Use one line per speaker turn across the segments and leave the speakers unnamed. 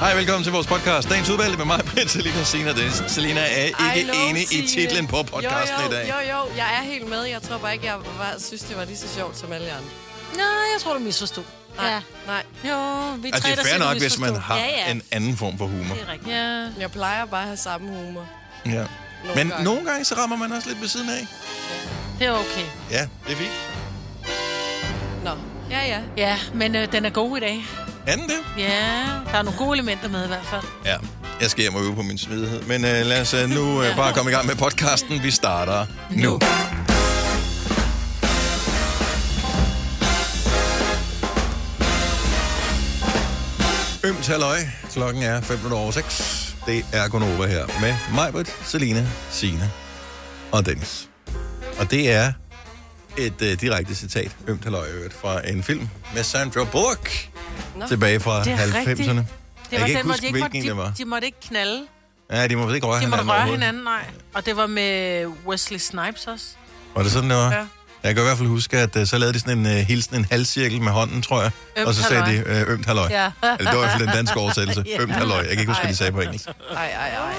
Hej, velkommen til vores podcast. Dagens udvalgte med mig, Britt, Selina Sina Dennis. Selina er ikke
love
enig i
Signe.
titlen på podcasten
jo, jo,
i dag.
Jo, jo, jeg er helt med. Jeg tror bare ikke, jeg var, synes, det var lige så sjovt som alle andre.
Nej, jeg tror, du misforstod.
Nej, ja. nej.
Jo, vi
Altså, det er fair nok, hvis man har
ja, ja.
en anden form for humor.
rigtigt. Ja.
Jeg plejer bare at have samme humor.
Ja.
Nogle
Men
gange.
nogle gange, så rammer man også lidt ved siden af.
Det er okay.
Ja, det er fint.
Nå, ja, ja.
Ja, men øh, den er god i dag.
Er den det?
Ja, der er nogle gode elementer med i hvert fald.
Ja. Jeg skal hjem og øve på min smidighed. Men øh, lad os øh, nu øh, bare komme i gang med podcasten. Vi starter nu. Ømt halløj. Klokken er 5 minutter over 6. Det er Gunova her med Majbrit, Selina, Sine og Dennis. Og det er et øh, direkte citat, ømt halløj i øvrigt, fra en film med Sandra Bullock
Nå.
tilbage fra
Det er rigtigt.
90'erne.
Det
Jeg kan
var
ikke
den, hvor
huske,
de ikke
hvilken
måtte,
det var.
de, de måtte ikke knalde.
Ja, de må vel ikke røre
De måtte
hinanden
røre
overhovedet.
hinanden, nej. Og det var med øh, Wesley Snipes også.
Var det sådan, det var? Ja.
Ja.
Jeg kan i hvert fald huske, at øh, så lavede de sådan en uh, hilsen, en halvcirkel med hånden, tror jeg.
Ømt
og så sagde
halløj.
de, øh, ømt halløj. Ja.
Ja.
Eller, det var i hvert fald den danske oversættelse.
Ja.
Ømt halløj. Jeg kan ikke huske, hvad de sagde på engelsk.
Ej, ej, ej.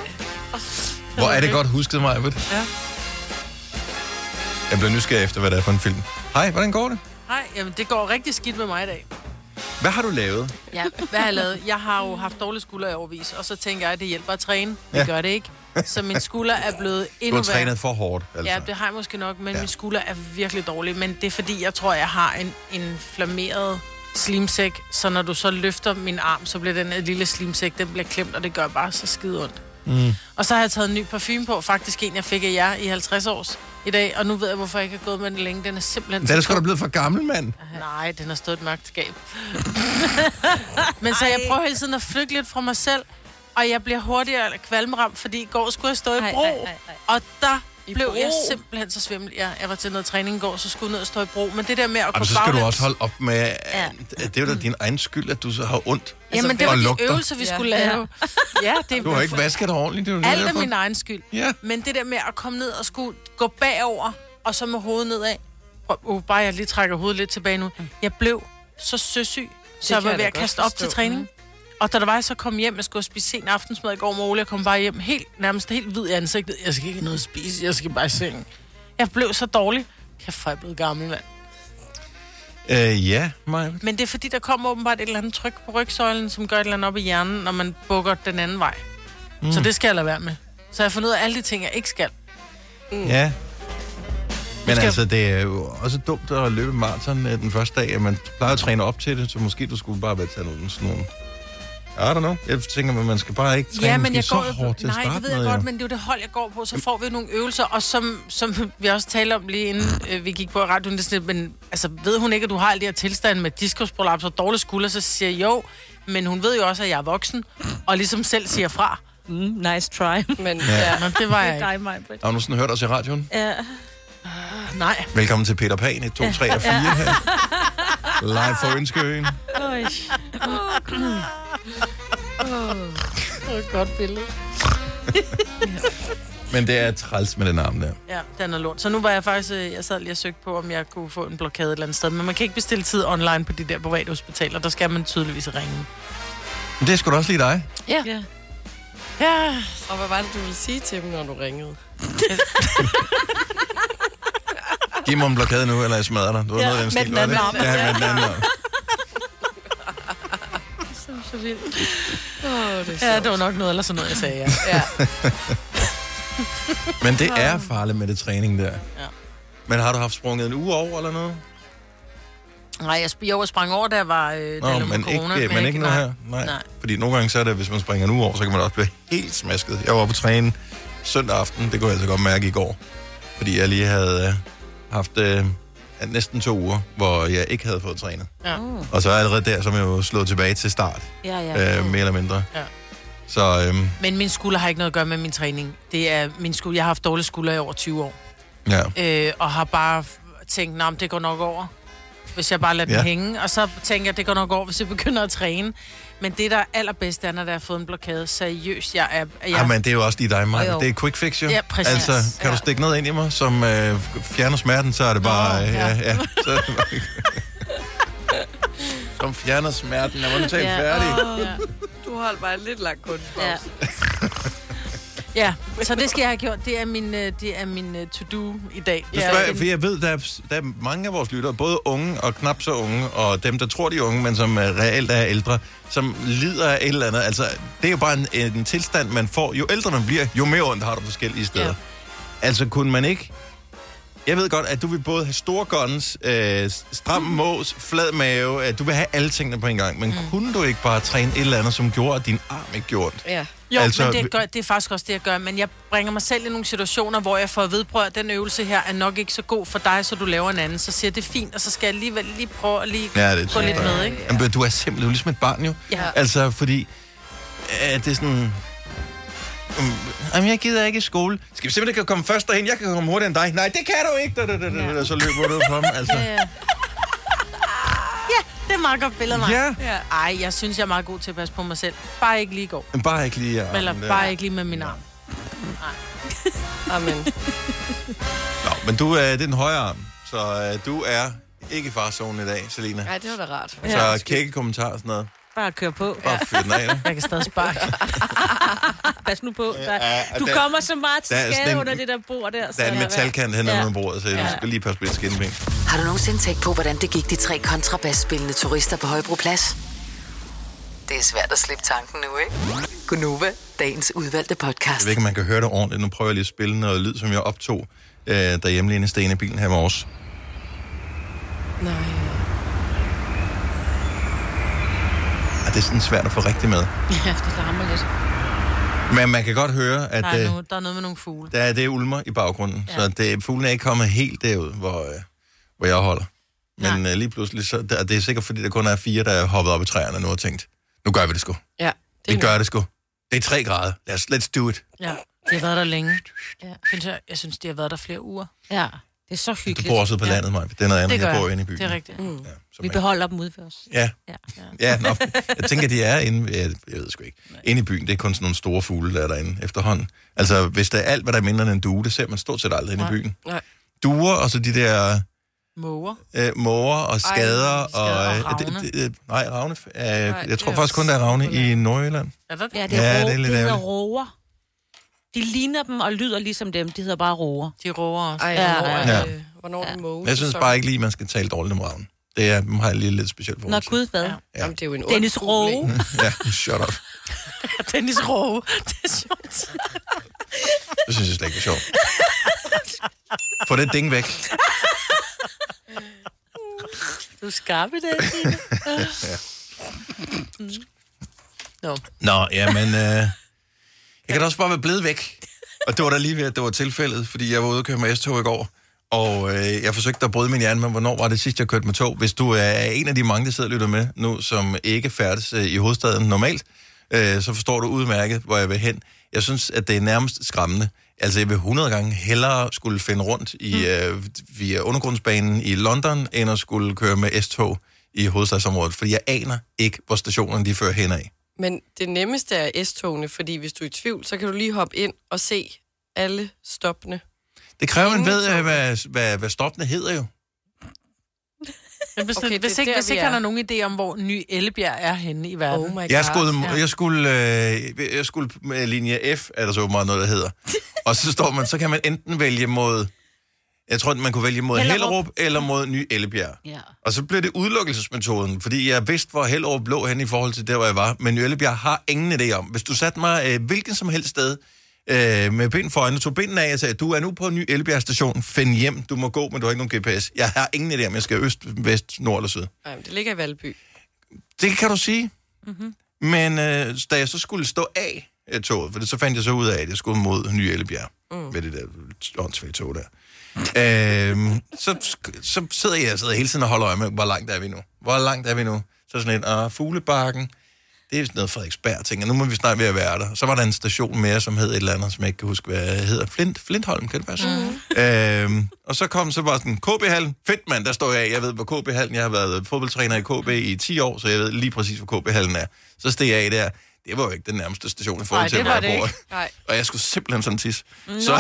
Hvor er det godt husket mig, ved
Ja.
Jeg blev nysgerrig efter, hvad det er for en film. Hej, hvordan går det?
Nej, jamen det går rigtig skidt med mig i dag.
Hvad har du lavet?
Ja, hvad har jeg lavet? Jeg har jo haft dårlige skuldre i overvis, og så tænker jeg, at det hjælper at træne. Det
Ja.
gør det ikke. Så min skulder er blevet
Du
endnu
har
værre.
trænet for hårdt, altså.
Ja, det har jeg måske nok, men
Ja.
ja. min skulder er virkelig dårlig. Men det er fordi, jeg tror, jeg har en inflammeret slimsæk, så når du så løfter min arm, så bliver den her lille slimsæk, den bliver klemt, og det gør bare så skide ondt. Mm. Og så har jeg taget en ny parfume på, faktisk en, jeg fik af jer i 50 års i dag, og nu ved jeg, hvorfor jeg ikke har gået med den længe. Den er simpelthen...
Det er da
så
sgu da blevet for gammel, mand.
Nej, den har stået et mørkt skab. Men så jeg prøver hele tiden at flygte lidt fra mig selv, og jeg bliver hurtigere kvalmeramt, fordi i går skulle jeg stå i
Ej,
bro,
ej, ej, ej.
og der
I
blev
Bro?
jeg simpelthen så svimmel. Ja, jeg var til noget træning i går, så skulle jeg ned og stå i bro. Men det der med at
Jamen,
kunne
så skal du også holde op med... Ja.
Ja.
Det er jo da din egen skyld, at du så har ondt. Altså,
Jamen, det var
og
de
lugter.
øvelser, vi
Ja.
skulle lave. Ja, det
Du har ikke vasket dig ordentligt. Det er jo
Alt er
derfor.
min egen skyld.
Ja.
Men det der med at komme ned og skulle gå bagover, og så med hovedet nedad. Og, uh, bare jeg lige trækker hovedet lidt tilbage nu. Jeg blev så søsyg, så jeg
kan
var
jeg
ved
da
at
godt
kaste op
forstå.
til træning. Mm. Og da der var, jeg så kom hjem, jeg skulle spise sen aftensmad i går morgen, jeg kom bare hjem helt, nærmest helt hvid i ansigtet. Jeg skal ikke have noget at spise, jeg skal bare i seng. Jeg blev så dårlig. Kæft, hvor er jeg blevet gammel, mand.
Øh, ja, Maja.
Men det er fordi, der kommer åbenbart et eller andet tryk på rygsøjlen, som gør et eller andet op i hjernen, når man bukker den anden vej. Mm. Så det skal jeg lade være med. Så jeg har fundet ud af alle de ting, jeg ikke skal.
Ja. Men
skal-
altså, det er jo også dumt at løbe maraton øh, den første dag. at Man plejer at træne op til det, så måske du skulle bare være tage nogle sådan nogle... I don't know. Jeg tænker, at man skal bare ikke træne
Ja, men jeg
så
går
hårdt til at
Nej,
starte
det ved jeg
med,
godt,
jo.
men det er jo det hold, jeg går på. Så får vi nogle øvelser, og som, som vi også talte om lige inden øh, vi gik på radioen, det er sådan, lidt, men altså, ved hun ikke, at du har alle de her tilstande med diskusprolaps og dårlige skuldre, så siger jeg jo, men hun ved jo også, at jeg er voksen, og ligesom selv siger fra.
Mm, nice try.
Men ja.
Men det var jeg ikke.
Dig, mig, Britt.
Har du sådan hørt os i radioen?
Ja.
Nej.
Velkommen til Peter Pan, 1, 2, 3 og 4 her. Live fra Ønskeøen.
Øj.
Det er godt billede.
Men det er træls med den arm der.
Ja, den er lort. Så nu var jeg faktisk, øh, jeg sad lige og søgte på, om jeg kunne få en blokade et eller andet sted. Men man kan ikke bestille tid online på de der private hospitaler. Der skal man tydeligvis ringe.
Men det er sgu da også lige dig.
Ja.
Ja,
og hvad var det, du ville sige til dem, når du ringede?
Giv mig en blokade nu, eller jeg smadrer dig. Du var ja, noget, af den
med
stil,
den
var
anden
det?
arm.
Ja, med den anden arm.
så vildt.
Åh, det er
Ja,
sjovt.
det var nok noget eller sådan noget, jeg sagde, ja.
Ja.
Men det er farligt med det træning der.
Ja.
Men har du haft sprunget en uge over eller noget?
Nej, jeg, sp- jo, jeg sprang over, da jeg var øh,
Nå,
da jeg
men
var corona.
ikke, men ikke noget her. Nej. Nej.
Nej.
Fordi nogle gange så er det, hvis man springer nu over, så kan man også blive helt smasket. Jeg var på træne søndag aften, det kunne jeg altså godt mærke i går. Fordi jeg lige havde øh, haft øh, næsten to uger, hvor jeg ikke havde fået trænet.
Ja.
Og så er jeg allerede der, som jeg jo slået tilbage til start,
Ja, ja.
øh, mere eller mindre.
Ja.
Så øhm,
Men min skulder har ikke noget at gøre med min træning. Det er min skulder. Jeg har haft dårlige skuldre i over 20 år.
ja.
Øh, og har bare f- tænkt, nah, det går nok over. Hvis jeg bare lader den
Ja.
hænge. Og så tænker jeg, det går nok over, hvis jeg begynder at træne. Men det, der er allerbedst, er, når jeg har fået en blokade. Seriøst, jeg er... Jeg,
Ja. Jamen, det er jo også lige dig, Maja.
Jo, jo.
Det er et quick fix, jo.
Ja, præcis.
Altså, kan du
Ja.
stikke noget ind i mig, som øh, fjerner smerten, så er det bare... Øh, ja.
ja.
Ja, Så, som fjerner smerten. Lad mig nu tale
Ja.
færdig.
ja.
Du holdt bare en lidt lang kun.
Ja. Ja, så det skal jeg have gjort. Det er min, øh, det er min øh, to-do i dag.
Det spørger, jeg, for jeg ved, der er, der er mange af vores lyttere, både unge og knap så unge, og dem, der tror, de er unge, men som øh, reelt er ældre, som lider af et eller andet. Altså, det er jo bare en, en tilstand, man får. Jo ældre man bliver, jo mere ondt har du forskellige steder. Ja.
Ja.
Altså, kunne man ikke... Jeg ved godt, at du vil både have store guns, øh, stram mås, flad mave, at du vil have alle tingene på en gang, men mm. kunne du ikke bare træne et eller andet, som gjorde, at din arm ikke gjorde ondt?
Ja.
Jo, altså,
Altså,
men
vi-
det, gør, det er faktisk også det, jeg gør. Men jeg bringer mig selv i nogle situationer, hvor jeg får at vide, "Prøv at den øvelse her er nok ikke så god for dig, så du laver en anden. Så siger jeg, det er fint, og så skal jeg alligevel lige prøve at lige
Ja, det er
gå lidt
typisk dig.
med, ikke?
Jamen, men du er simpelthen du er ligesom et barn, jo.
Ja.
Altså, fordi... Øh, det er sådan... Mm, Jamen, jeg gider ikke i skole. Skal vi se, om det kan komme først derhen? Jeg kan komme hurtigere end dig. Nej, det kan du ikke! Da, da, da, da, da, så løber du frem, altså.
Ja. ja, det er meget godt billede, mig.
Ja.
ja. Ej, jeg synes, jeg er meget god til at passe på mig selv. Bare ikke lige i går.
Men bare ikke lige... Ja,
Eller bare ikke lige med min arm.
Amen.
Nå, men du øh, det er den højre arm, så øh, du er ikke i farzonen i dag, Selina.
Nej, det var da rart.
Så kække kommentarer og sådan noget.
Bare kør på.
Bare fyr den af. da.
Jeg kan stadig sparke.
Pas nu på. Der,
Ja,
du
der-
kommer så meget til
der er sådan
skade
en-
under det der bord der.
Der er en metalkant hen under
Ja.
bordet, så du skal lige passe på dit skinben.
Har du nogensinde tænkt på, hvordan det gik de tre kontrabasspillende turister på Højbroplads? Det er svært at slippe tanken nu, ikke? Gunova, dagens udvalgte podcast.
Jeg ved ikke, om man kan høre det ordentligt. Nu prøver jeg lige at spille noget lyd, som jeg optog øh, derhjemme lige inde i Stene i bilen her i morges.
Nej.
Og Ah, det er sådan svært at få rigtigt med.
ja, det larmer lidt.
Men man kan godt høre, at
Der
øh,
er, no, der er noget med nogle fugle.
der er det ulmer i baggrunden. Ja. Så det, fuglen er ikke kommet helt derud, hvor, øh, hvor jeg holder. Men øh, lige pludselig, så, der, det er sikkert, fordi der kun er fire, der er hoppet op i træerne nu og tænkt, nu gør vi det sgu.
Ja. Det
Vi
er
gør det sgu. Det er tre grader. Let's, let's do it.
Ja, de har været der længe. Ja. Synes jeg, jeg synes, de har været der flere uger.
Ja, det er så
Du
hyggeligt.
bor også ude på landet, Maja. Det er noget andet,
Det gør
jeg bor
jeg.
inde i byen.
Det er rigtigt. Mm.
Ja, så
Vi
man-
beholder dem ude ved os.
ja,
Ja. ja.
Ja, nå. jeg tænker, de er inde, jeg, jeg ved sgu ikke, inde i byen, det er kun sådan nogle store fugle, der er derinde efterhånden. Altså, hvis der er alt, hvad der er mindre end en due, det ser man stort set aldrig inde i byen.
Nej.
Duer, og så de der
Måger.
øh, måger og skader. Ej,
skader
og,
og
øh,
ravne.
Det, det, nej, ravne. Øh, jeg
det
tror
er
faktisk kun, der er ravne
populært.
i Nordjylland.
Er der det?
Ja,
Ja.
det er,
Ja,
ja,
det
det
er lidt
det hedder
ærgerligt.
roer. De ligner dem og lyder ligesom dem. De hedder bare roer.
De roer også.
Ej,
Ja,
hvornår,
ja,
ja.
er det, hvornår er det måge?
Men jeg synes bare ikke lige, man skal tale dårligt om ravne. Det er, dem har jeg lige lidt specielt for.
Nå, gud hvad? Ja.
Jamen, det er jo en ond
Dennis
fugl,
Roe.
ikke?
Ja, shut up.
Dennis Roe. Det er sjovt.
Det synes jeg slet ikke er sjovt. Få det ding væk.
Du er skarp i dag, Signe.
Nå.
Nå, jamen... Øh, jeg kan da også bare være blevet væk. Og det var da lige ved, at det var tilfældet, fordi jeg var ude og køre med S-tog i går. Og øh, jeg forsøgte at bryde min hjerne, men hvornår var det sidst, jeg kørte med tog? Hvis du er en af de mange, der sidder og lytter med nu, som ikke færdes øh, i hovedstaden normalt, øh, så forstår du udmærket, hvor jeg vil hen. Jeg synes, at det er nærmest skræmmende. Altså, jeg vil 100 gange hellere skulle finde rundt i, øh, via undergrundsbanen i London, end at skulle køre med S-tog i hovedstadsområdet, fordi jeg aner ikke, hvor stationerne de fører hen af.
Men det nemmeste er S-togene, fordi hvis du er i tvivl, så kan du lige hoppe ind og se alle stoppene.
Det kræver, at man
Ingen
ved, øh, hvad, hvad, hvad stoppene hedder jo.
Men hvis,
Okay,
okay,
det
hvis,
er
ikke,
der,
hvis
vi
ikke han
er.
har nogen idé om, hvor Ny Ellebjerg er henne i verden.
Oh my god.
Jeg skulle,
ja.
jeg skulle, øh, jeg skulle med linje F, er der så åbenbart noget, der hedder. Og så står man, så kan man enten vælge mod, jeg tror, man kunne vælge mod Hellerup,
Hellerup.
eller mod Ny Ellebjerg.
Ja.
Og så blev det udelukkelsesmetoden, fordi jeg vidste, hvor Hellerup lå hen i forhold til der, hvor jeg var. Men Ny Ellebjerg har ingen idé om. Hvis du satte mig øh, hvilken som helst sted øh, med ben for øjnene, tog benene af og sagde, du er nu på Ny Ellebjerg station, find hjem, du må gå, men du har ikke nogen GPS. Jeg har ingen idé om, jeg skal øst, vest, nord eller syd.
Ej, men det ligger i Valby.
Det kan du sige. Mm-hmm. Men øh, da jeg så skulle stå af øh, toget, for det, så fandt jeg så ud af, at jeg skulle mod Ny Ellebjerg mm. ved det der åndssvage tog der. øhm, så, sk- så sidder jeg, jeg sidder hele tiden og holder øje med, hvor langt er vi nu? Hvor langt er vi nu? Så sådan et, ah, fuglebakken, det er vist noget Frederiksberg, tænker jeg. nu må vi snart ved at være der. Så var der en station mere, som hed et eller andet, som jeg ikke kan huske, hvad hedder. Flint, Flintholm, kan det passe?
Mhm.
Mm. Øhm, og så kom så bare sådan, KB-hallen, fedt mand, der står jeg af. Jeg ved, hvor KB-hallen, jeg har været fodboldtræner i KB i 10 år, så jeg ved lige præcis, hvor KB-hallen er. Så steg jeg af der. Det var jo ikke den nærmeste station i forhold
Nej,
til,
det
hvor
var
jeg
det
bor.
ikke.
Nej.
Og jeg skulle simpelthen sådan tisse. Så,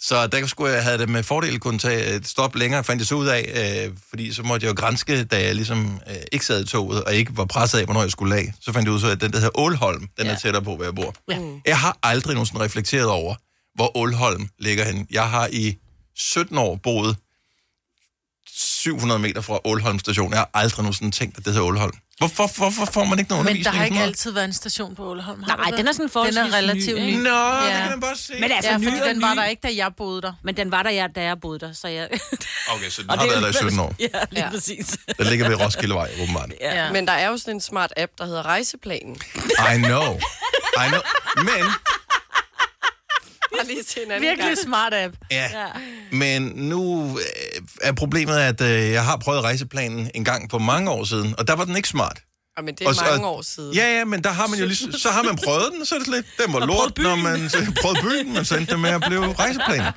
Så der skulle jeg have det med fordel kunne tage et stop længere, fandt jeg så ud af, øh, fordi så måtte jeg jo grænske, da jeg ligesom øh, ikke sad i toget, og ikke var presset af, hvornår jeg skulle af. Så fandt jeg ud af, at den der hedder Ålholm, den ja. er tættere på, hvor jeg bor.
Ja.
Jeg har aldrig nogensinde reflekteret over, hvor Ålholm ligger henne. Jeg har i 17 år boet 700 meter fra Ålholm station. Jeg har aldrig nogensinde tænkt, at det hedder Ålholm. Hvorfor, hvorfor får man ikke noget
Men der
undervisning?
har
i
ikke
sådan
altid været en station på Ålholm. har
Nej,
der?
den er sådan forholdsvis
Den er relativt
ny,
ny.
ikke?
noget? Nå, ja.
Ja.
det kan man bare se.
Men altså,
Ja,
ny
fordi
og
den var
ny.
der ikke, da jeg boede der.
Men den var der, jeg, da jeg boede der, så jeg...
Okay, så den har været der i 17 år.
Ja, lige
Ja.
ja. præcis.
Den ligger ved Roskildevej, åbenbart.
Ja. Men
Men der er jo sådan en smart app, der hedder Rejseplanen.
I know. I know. Men,
Bare lige til en anden
virkelig
gang.
smart app.
ja. Men nu øh, er problemet, at øh, jeg har prøvet rejseplanen en gang for mange år siden, og der var den ikke smart.
Ja, men det er
så-
mange år siden.
Ja, ja, men der har man jo lige, så har man prøvet den, så er det lidt, den var lort, når man så prøvede byen, men så endte det med at blive rejseplanen.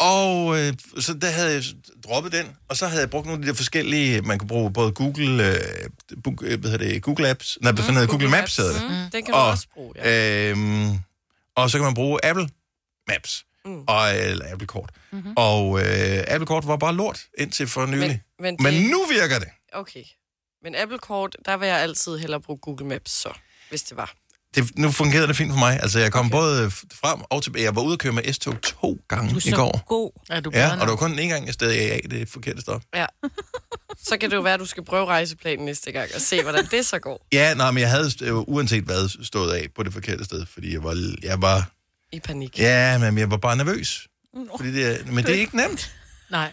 Og øh, så der havde jeg droppet den, og så havde jeg brugt nogle af de der forskellige, man kunne bruge både Google, øh, bu- øh, hvad hedder det, Google Apps, nej, hvad fanden hedder det? Google Maps, hedder det.
Mm. Den kan du
Og,
også bruge, ja.
Øhm, og så kan man bruge Apple Maps, mm. og, eller Apple Kort. Mm-hmm. Og øh, Apple Kort var bare lort indtil for nylig.
men
Men, men,
det-
men nu virker det.
Okay. Men Apple Kort, der vil jeg altid hellere bruge Google Maps, så, hvis det var.
det, nu fungerede det fint for mig. Altså, jeg kom okay. både frem og tilbage. Jeg var ude at køre med S-tog to gange i går.
god.
Er du bedre
Ja, og
nu?
det var kun en gang, jeg stadig er i det forkerte stop.
Ja. Så kan det jo være, at du skal prøve rejseplanen næste gang og se, hvordan det så går
Ja, nej, men jeg havde st- øh, uanset hvad stået af på det forkerte sted, fordi jeg var, jeg var,
i panik.
ja, men jeg var bare nervøs. Fordi det, er- men det er ikke nemt.
Nej,
Ej,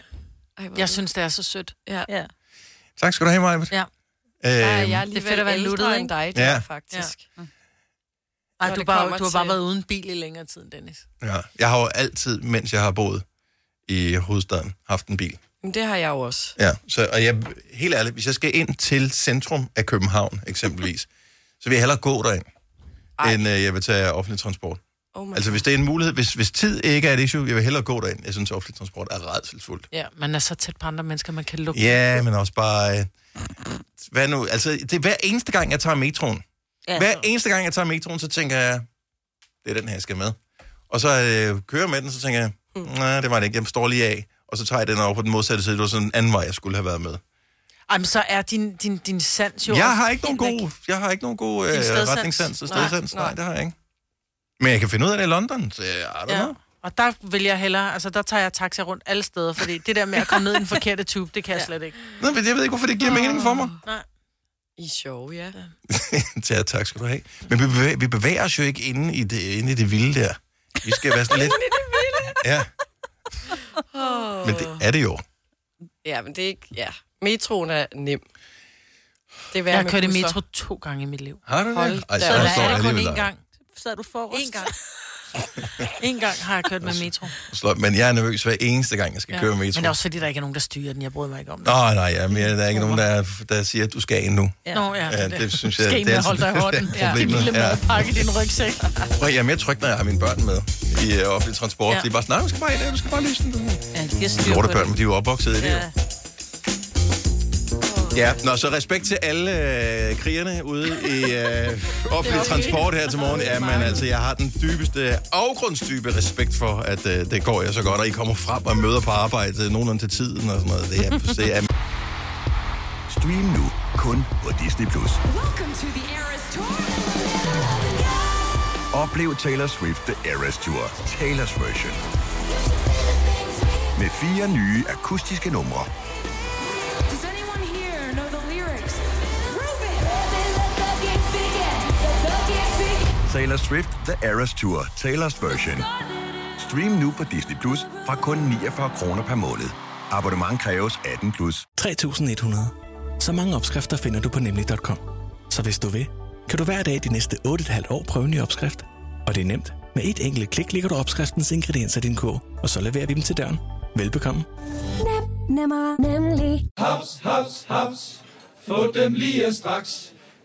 hvor er
jeg
det-
synes, det er så sødt.
ja.
Ja.
Tak skal du have, Maja.
Ja.
Ej, jeg er
Øhm,
alligevel
fedt at være
ældre
luttet,
end
ikke?
dig,
Ja.
der, faktisk.
Ej,
Når
du,
det
bare,
kommer
du har bare
til-
været uden bil i længere tid, end Dennis.
ja. Jeg har jo altid, mens jeg har boet i hovedstaden, haft en bil.
Men det har jeg jo også.
Ja, så, og jeg, helt ærligt, hvis jeg skal ind til centrum af København, eksempelvis, så vil jeg hellere gå derind, Ej.
Ej.
end øh, jeg vil tage offentlig transport.
Oh my
Altså, hvis det er en mulighed, hvis, hvis tid ikke er et issue, jeg vil hellere gå derind. Jeg synes, offentlig transport er redselsfuldt.
Ja, man er så tæt på andre mennesker, man kan lukke.
Ja, men også bare... Øh, hvad nu? Altså, det er hver eneste gang, jeg tager metroen.
Ja.
Hver eneste gang, jeg tager metroen, så tænker jeg, det er den her, jeg skal med. Og så øh, kører jeg med den, så tænker jeg, nej, det var det ikke, jeg står lige af. Og så tager jeg den over på den modsatte side, det var sådan en anden vej, jeg skulle have været med.
Ej, men så er din, din, din sans jo...
Jeg
også
har ikke nogen
helt væk.
god, jeg har ikke nogen god øh,
Din stedsans.
retningssans og
Nej,
stedsans. Nej,
nej.
det har jeg ikke. Men jeg kan finde ud af det i London, så jeg I don't
Ja.
know.
Og der vil jeg hellere, altså der tager jeg taxa rundt alle steder, fordi det der med at komme ned i den forkerte tube, det kan jeg slet ikke.
Nå, men jeg ved ikke, hvorfor det giver mening for mig.
Nej.
I er sjove, ja.
ja, tak skal du have. Men vi bevæger, vi bevæger os jo ikke inde i det, inde i det vilde der. Vi skal være sådan lidt... inde i det vilde? Ja. Men det er det jo.
Ja, men det er ikke... Ja. Metroen er nem. Det er værre
Jeg har
med
kørt i
busser.
metro to gange i mit liv.
Har du
Hold
Ej,
da
så
op.
står jeg
er det kun
alligevel
én
der.
gang.
Så er du forrest.
En gang. En gang har jeg kørt med metro.
Slå- Men jeg er nervøs hver eneste gang, jeg skal køre
Men
metro.
det er også fordi, der ikke er nogen, der styrer den. Jeg bryder mig ikke om det.
Nej, nej, ja, men der er ikke nogen, der, der siger, at du skal ind nu.
Nå, ja,
Ja, det synes jeg,
Skal
det er
med holde dig i
altid-
hånden.
det er
Ja. Din
problemet,
lille
ja.
madpakke i din rygsæk.
Og jeg er mere tryg, når jeg har mine børn med i øh, offentlig transport.
Ja.
Ja. De er bare sådan, nej, du skal bare i det, du skal bare løse den.
Ja, de har styr på
Lorte
det.
børn, men de er jo opvokset i det.
Ja.
Ja. ja, nå, så respekt til alle øh, krigerne ude i øh, offentlig transport her til morgen. Ja, men altså, jeg har den dybeste, afgrundsdybe respekt for, at øh, det går jeg så godt, og I kommer frem og møder på arbejde øh, nogenlunde til tiden og sådan noget. Det er, det er
Stream nu kun på Disney+. Plus. Oplev Taylor Swift The Eras Tour, Taylor's version. Med fire nye akustiske numre.
Does anyone here know the lyrics? Prove it! let the games begin. Let the games begin.
Taylor Swift The Eras Tour, Taylor's version. Stream nu på Disney Plus fra kun 49 kroner per måned. Abonnement kræves 18 plus.
3100. Så mange opskrifter finder du på nemlig.com. Så hvis du vil, kan du hver dag de næste 8,5 år prøve en ny opskrift. Og det er nemt. Med et enkelt klik ligger du opskriftens ingredienser i din kog, og så leverer vi dem til døren. Velbekomme.
Nem, nemmer, nemlig.
Haps, haps, haps. Få dem lige straks.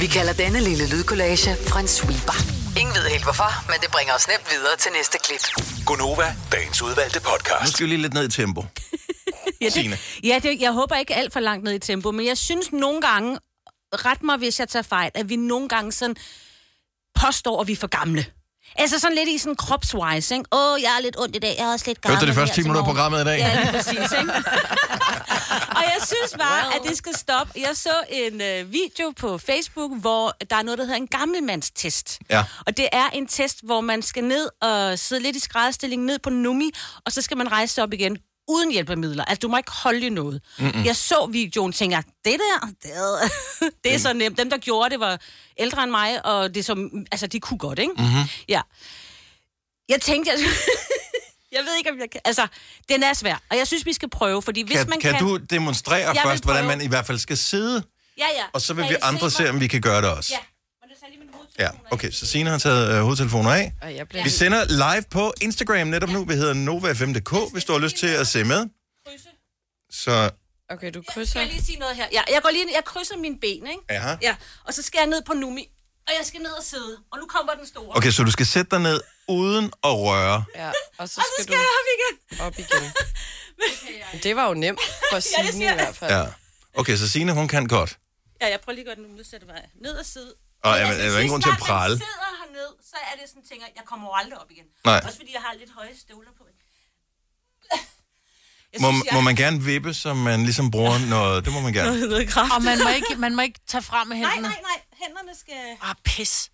Vi kalder denne lille lydkollage en sweeper. Ingen ved helt hvorfor, men det bringer os nemt videre til næste klip.
Gunova, dagens udvalgte podcast. Nu skal vi lige lidt ned i tempo.
Ja, det,
Signe.
ja det, jeg håber ikke alt for langt ned i tempo, men jeg synes nogle gange, ret mig hvis jeg tager fejl, at vi nogle gange sådan påstår, at vi er for gamle. Altså sådan lidt i sådan kropswise, ikke? Åh, oh, jeg er lidt ondt i dag, jeg er også lidt
Hørte du
gammel.
de første
her
10
til
minutter af
morgen."
programmet i dag?
altså, Ja, lige præcis, ikke? og jeg synes bare, wow. at det skal stoppe. Jeg så en øh, video på Facebook, hvor der er noget, der hedder en gammelmandstest.
Ja.
Og det er en test, hvor man skal ned og sidde lidt i skrædderstilling ned på nummi, og så skal man rejse sig op igen uden hjælpemidler. Altså, du må ikke holde i noget.
Mm-mm.
Mm-mm. Jeg så videoen og tænker, det der, det, det er
Mm.
så nemt. Dem, der gjorde det, var ældre end mig, og det som, altså, de kunne godt, ikke?
Mm-hmm.
Mhm.
Ja. Jeg tænkte, jeg, jeg ved ikke, om jeg kan... Altså, den er svær, og jeg synes, vi skal prøve, fordi hvis
kan,
man
kan,
kan...
du demonstrere
Jeg vil
først, hvordan
prøve.
man i hvert fald skal sidde?
Ja, ja.
Og så vil
Kan
vi
I se
andre se,
mig?
om vi kan gøre det også.
Ja.
Ja, okay, så Signe har taget øh, hovedtelefoner af.
Og jeg bliver...
Vi sender live på Instagram netop nu. Vi hedder Nova5.dk, hvis du har lyst til at se med. Så
Okay, du krydser.
Jeg skal lige sige noget her. Ja, jeg går lige ind, jeg krydser mine ben, ikke?
Aha.
Ja, og så skal jeg ned på Numi, og jeg skal ned og sidde. Og nu kommer den store.
Okay, så du skal sætte dig ned uden at røre.
Ja, og så
Og så
skal,
skal
du
jeg op igen.
op igen. Det var jo nemt for Signe i hvert fald.
Ja. Okay, så Signe, hun kan godt.
Ja, jeg prøver lige at gøre den modsatte vej. Ned og sidde.
Og jamen, er der ingen grund til at prale?
Hvis jeg sidder hernede, så er det sådan, tænker jeg, jeg kommer jo aldrig op igen.
Nej.
Også fordi jeg har lidt høje støvler på.
Må, må man gerne vippe, så man ligesom bruger noget... Det må man gerne.
kraft.
Og man må ikke, man må ikke tage frem med hænderne. Nej,
nej, nej. Hænderne skal...
Ah, pis.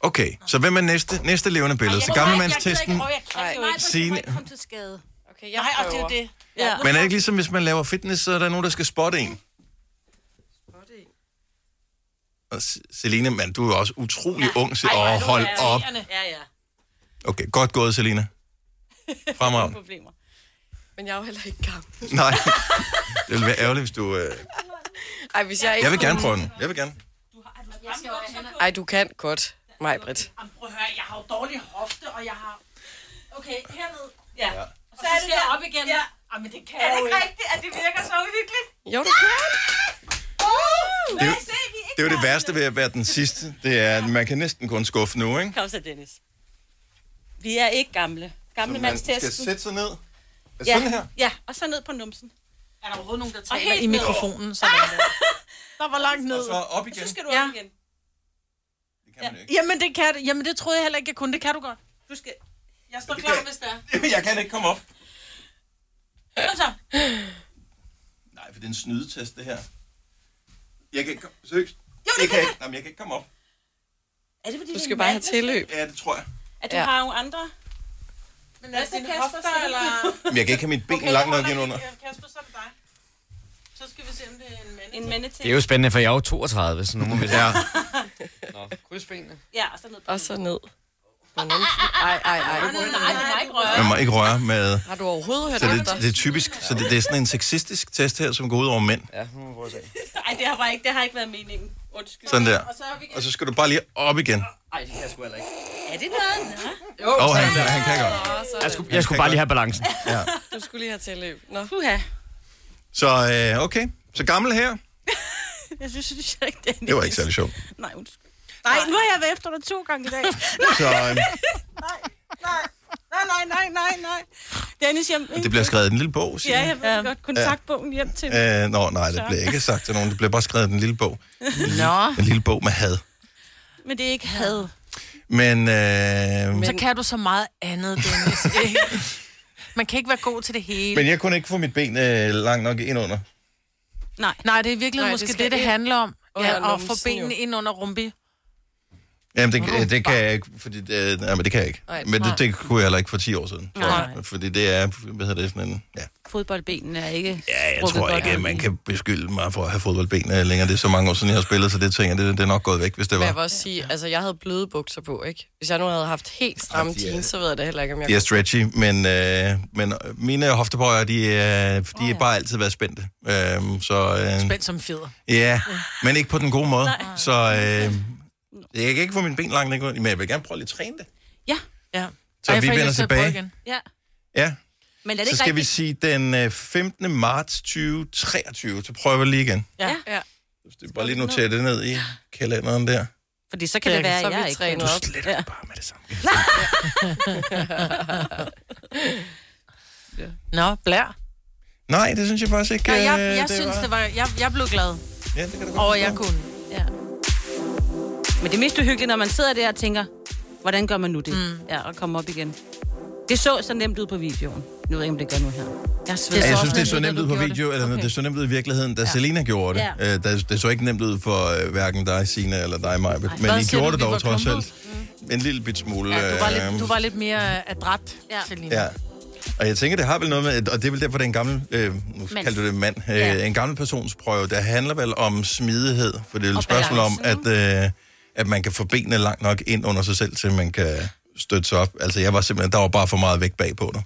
Okay, så hvem er næste, næste levende billede? Så gammelmandstesten... Signe...
til skade.
Okay, jeg
Nej, og det er
prøver.
jo det.
Ja.
Men er det ikke ligesom, hvis man laver fitness, så er der nogen, der skal spotte en? Og Se- Selina, mand, du er jo også utrolig ja. ung. Så, åh, hold op.
Ja, ja.
Okay, godt gået, Selina. Fremragende.
Problemer.
Men jeg er jo heller ikke gammel.
Nej, det ville være ærgerligt, hvis du... Øh...
Ej, hvis jeg, ikke
Jeg vil gerne prøve den. Jeg vil gerne.
Ej, du kan godt, mig, Britt.
Jamen, prøv at høre, jeg har jo dårlig hofte, og jeg har... Okay, hernede.
Ja.
ja.
Og så, skal jeg op igen. Ja.
Ah, men det kan
Er
jeg
det
jo
ikke
ikke.
rigtigt, at det virker så uhyggeligt?
Jo, det kan.
Det er jo- Det er jo det værste ved at være den sidste. Det er, at man kan næsten kun skuffe nu, ikke?
Kom så, Dennis. Vi er ikke gamle. Gamle
Så man skal
mandstesten.
sætte sig ned?
Ja.
Sådan her?
Ja, og så ned på numsen.
Er der overhovedet nogen, der
Og
taler
helt
i
ned.
mikrofonen? Så ah! der var langt ned.
Og så op igen.
Så skal du op
ja.
igen.
Det kan man ikke.
Jamen, det kan Jamen, det troede jeg heller ikke, jeg kunne. Det kan du godt. Du skal... Jeg står
Det
klar,
kan-
hvis det er.
Jeg kan ikke komme op.
Kom så.
Nej, for det er en snydetest, det her. Jeg kan ikke komme... Seriøst? Jo, det jeg kan, ikke. Nej, men jeg kan ikke komme op.
Er det fordi,
Du
det er
skal
en
bare have
mand,
tilløb.
Ja, det tror jeg.
At du
Ja.
ja. har nogle andre? Men
er det dine hofter, eller?
Men jeg kan ikke have mit ben okay, langt nok ind under.
Kasper, så er det dig. Så skal vi se, om det er en mand.
En mandeting.
Det er jo spændende, for jeg er jo 32, så nu må vi se. Ja.
Krydsbenene.
Ja, og så ned.
Og så ned. På numsen. Ej, ej, ej.
Nej, det må ikke røre.
Man må ikke røre med...
Har du overhovedet hørt
Så det,
efter?
det er typisk, så det, det er sådan en sexistisk test her, som går ud over mænd.
Ja, nu må vi prøve at se.
Ej, det har, bare ikke, det har ikke været meningen. Undskyld.
Sådan der.
Og så er vi
Og så skal du bare lige op igen.
Ej, det kan jeg sgu heller ikke.
Er det noget? Nå.
Jo,
Åh, han,
sådan.
han kan godt.
Åh, sådan.
Jeg skulle, jeg skulle bare lige have balancen.
Ja.
Du skulle lige have tilløb. Nå.
Puha.
Så øh, okay, så gammel her.
Jeg synes, synes jeg ikke, det er
Det var ikke særlig sjovt.
Nej, undskyld. Nej, nu har jeg været efter dig to gange i dag.
Så, øhm.
nej, nej, nej, nej, nej, nej, nej. Dennis, jeg...
Det bliver skrevet i en lille bog, siger
Ja, jeg ved ja. godt. Kontaktbogen hjem til.
Øh, nå, nej, det
Så. Ah.
bliver ikke sagt til nogen. Det bliver bare skrevet i en lille bog.
Nå.
En lille bog med had.
Men det er ikke had.
Men, øh,
Men... Så
men,
kan du så meget andet, Dennis. ikke? Man kan ikke være god til det hele.
men jeg kunne ikke få mit ben øh, langt nok ind under.
Nej.
Nej, det er virkelig
Nej,
Nej,
det
måske det,
skal
det, det
ind
handler om.
under
Ja, og få
numsen,
benene ind under rumpi.
Jamen, det, øh, det kan jeg ikke, fordi, øh, nej, men det kan jeg ikke.
Nej.
Men det, det kunne jeg heller ikke for 10 år siden. Så,
Nej.
Fordi det er, hvad hedder det, sådan en, ja.
Fodboldbenene er ikke...
Ja, jeg tror ikke, at man kan beskylde mig for at have fodboldben øh, længere. Det er så mange år siden, jeg har spillet, så det tænker jeg, det, det er nok gået væk, hvis det
Men jeg
var.
vil også sige, altså jeg havde bløde bukser på, ikke? Hvis jeg nu havde haft helt stramme
Ja, de er-
jeans, så ved jeg da heller ikke, om jeg...
De er stretchy, men, øh, men mine hoftebøjer, de, er, de er bare altid været spændte. Øh, så, øh,
Spændt som fjeder.
Ja, men ikke på den gode måde.
Nej.
Så, øh, Jeg kan ikke få min ben langt nok ud, men jeg vil gerne prøve at lidt træne det.
Ja.
ja.
Så vi vender tilbage.
Ja.
Ja,
Men er det
så
ikke
skal vi
rigtigt?
sige den øh, 15. marts 2023. Så prøver vi lige igen.
Ja.
ja.
Det er bare lige notere det ned i kalenderen der.
Fordi så kan
Ja,
det være,
så
at
er vi
jeg ikke
trænet
kan.
op. Du sletter
ja.
bare med det samme.
Nå, blær.
Nej, det synes jeg faktisk ikke.
Ja, jeg,
øh,
jeg det synes, var... det var... Jeg, jeg blev glad.
Ja, det kan du
Og jeg kunne.
Ja. Men det er mest uhyggeligt, når man sidder der og tænker, hvordan gør man nu det? Mm. Ja, og kommer op igen. Det så så nemt ud på videoen. Nu ved jeg ikke, om det gør nu her. Jeg sveder.
Ja, jeg synes, det er så nemt ud på video, eller okay. det så nemt ud i virkeligheden, da ja. Selina gjorde det.
Ja.
Ja. Det, det så ikke nemt ud for øh, hverken dig, Sina eller dig, Maja. Men
Hvad
I
siger
gjorde
du,
det
vi var
dog trods
klumpede?
alt. En lille bit smule.
Ja, du, var
øhm,
lidt, du var lidt mere øh, adræt, ja. Selina.
Ja. Og jeg tænker, det har vel noget med, og det er vel derfor, det er en gammel, øh, nu
Mand.
kalder du det mand, øh, ja. en gammel persons prøve, der handler vel om smidighed, for det er jo et
Og
spørgsmål om, at, øh, at man kan få benene langt nok ind under sig selv, til man kan støtte sig op. Altså, jeg var simpelthen, der var bare for meget vægt bagpå dig.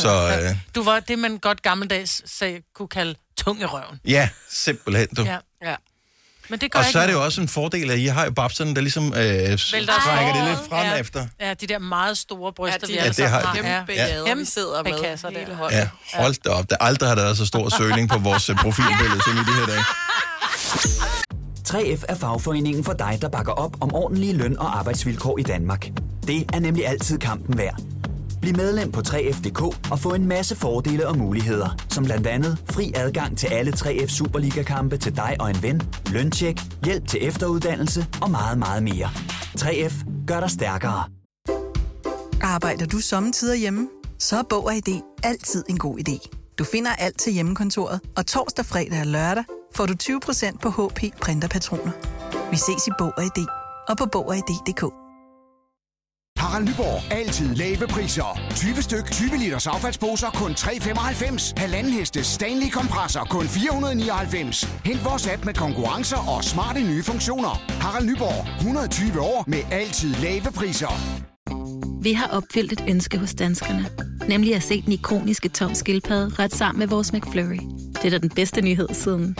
Så øh,
Du var det, man godt gammeldags sag, kunne kalde tung i røven.
ja, simpelthen du. Ja.
Ja. ja. Men det gør
Og
ikke
så er det
noget.
jo også en fordel, at I har jo babserne, der ligesom øh,
Vælter os
strækker det
over.
lidt frem
ja.
ja. efter.
Ja, de der meget store bryster,
de
vi
Ja,
alle
det
sammen
har de.
Ja.
Kæmpe lader,
vi sidder med kasser hele holdet.
Ja, hold da op. Der aldrig har der været så stor søgning på vores øh, profilbillede som i de her dage.
3F er fagforeningen for dig, der bakker op om ordentlige løn- og arbejdsvilkår i Danmark. Det er nemlig altid kampen værd. Bliv medlem på 3F.dk og få en masse fordele og muligheder, som blandt andet fri adgang til alle 3F Superliga-kampe til dig og en ven, løntjek, hjælp til efteruddannelse og meget, meget mere. 3F gør dig stærkere.
Arbejder du sommetider hjemme? Så er Bog og ID altid en god idé. Du finder alt til hjemmekontoret, og torsdag, fredag og lørdag får du 20% på HP printerpatroner. Vi ses i Bog og ID og på Bog og ID.dk.
Harald Nyborg. Altid lave priser. 20 styk, 20 liters affaldsposer kun 3,95. Halvanden heste Stanley kompresser kun 499. Hent vores app med konkurrencer og smarte nye funktioner. Harald Nyborg. 120 år med altid lave priser.
Vi har opfyldt et ønske hos danskerne. Nemlig at se den ikoniske tom skildpadde ret sammen med vores McFlurry. Det er da den bedste nyhed siden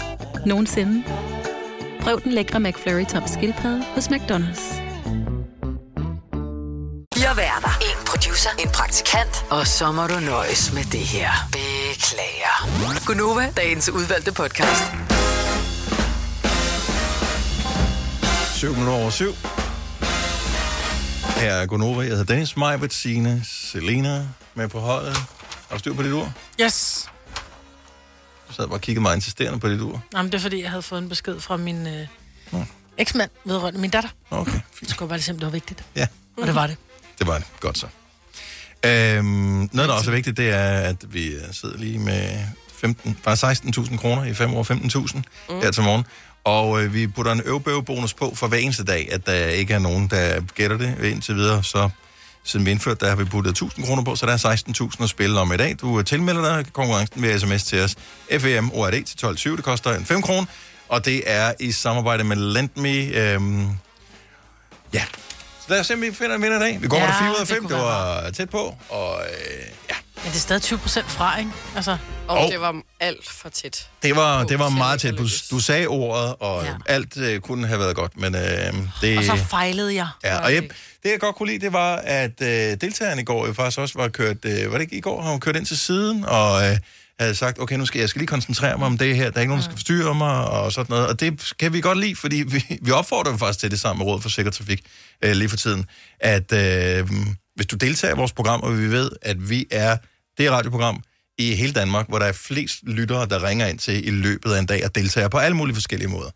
nogensinde. Prøv den lækre McFlurry tom skildpadde hos McDonald's.
Fire værter. En producer. En praktikant. Og så må du nøjes med det her. Beklager. Gunova, dagens udvalgte podcast.
7 minutter over 7. Her er Gunova. Jeg hedder Dennis Majbert, Signe, Selena med på holdet. Har du styr på dit ur?
Yes.
Du sad bare og kiggede meget insisterende på dit ur.
Jamen, det er fordi, jeg havde fået en besked fra min øh, eksmand vedrørende min datter.
Okay,
fint. Så skulle jeg bare lige se, om det var vigtigt.
Ja.
Og det var det.
Det var det. Godt så. Øhm, noget, der også er vigtigt, det er, at vi øh, sidder lige med 15, faktisk 16.000 kroner i 5 år 15.000 mm. her til morgen. Og øh, vi putter en øvbøvebonus på for hver eneste dag, at der ikke er nogen, der gætter det indtil videre. Så siden vi indførte, der har vi puttet 1.000 kroner på, så der er 16.000 at spille om i dag. Du øh, tilmelder dig konkurrencen ved sms til os. E FEM ORD til 12.20, det koster en 5 kroner. Og det er i samarbejde med LendMe. Øhm, ja, så lad os se, om vi finder en vinder i dag. Vi går
Ja,
ja, 4 ud af
det
5, det,
kunne være
var tæt på. Og øh,
Men det er stadig 20 procent fra, ikke? Altså,
Og Og- det
var alt for tæt.
det var, det var meget tæt. Du, du sagde ordet, og ja. alt øh, kunne have været godt, men øh, det...
Og så fejlede jeg.
Ja, og jeg, det jeg godt kunne lide, det var, at øh, deltagerne i går jo faktisk også var kørt, øh, var det ikke i går, har hun kørt ind til siden, og øh, havde sagt, okay, nu skal jeg skal lige koncentrere mig om det her, der er ikke nogen, der skal forstyrre mig, og sådan noget. Og det kan vi godt lide, fordi vi, vi opfordrer dem faktisk til det sammen med Rådet for Sikker Trafik øh, lige for tiden, at øh, hvis du deltager i vores program, og vi ved, at vi er det radioprogram i hele Danmark, hvor der er flest lyttere, der ringer ind til i løbet af en dag og deltager på alle mulige forskellige måder.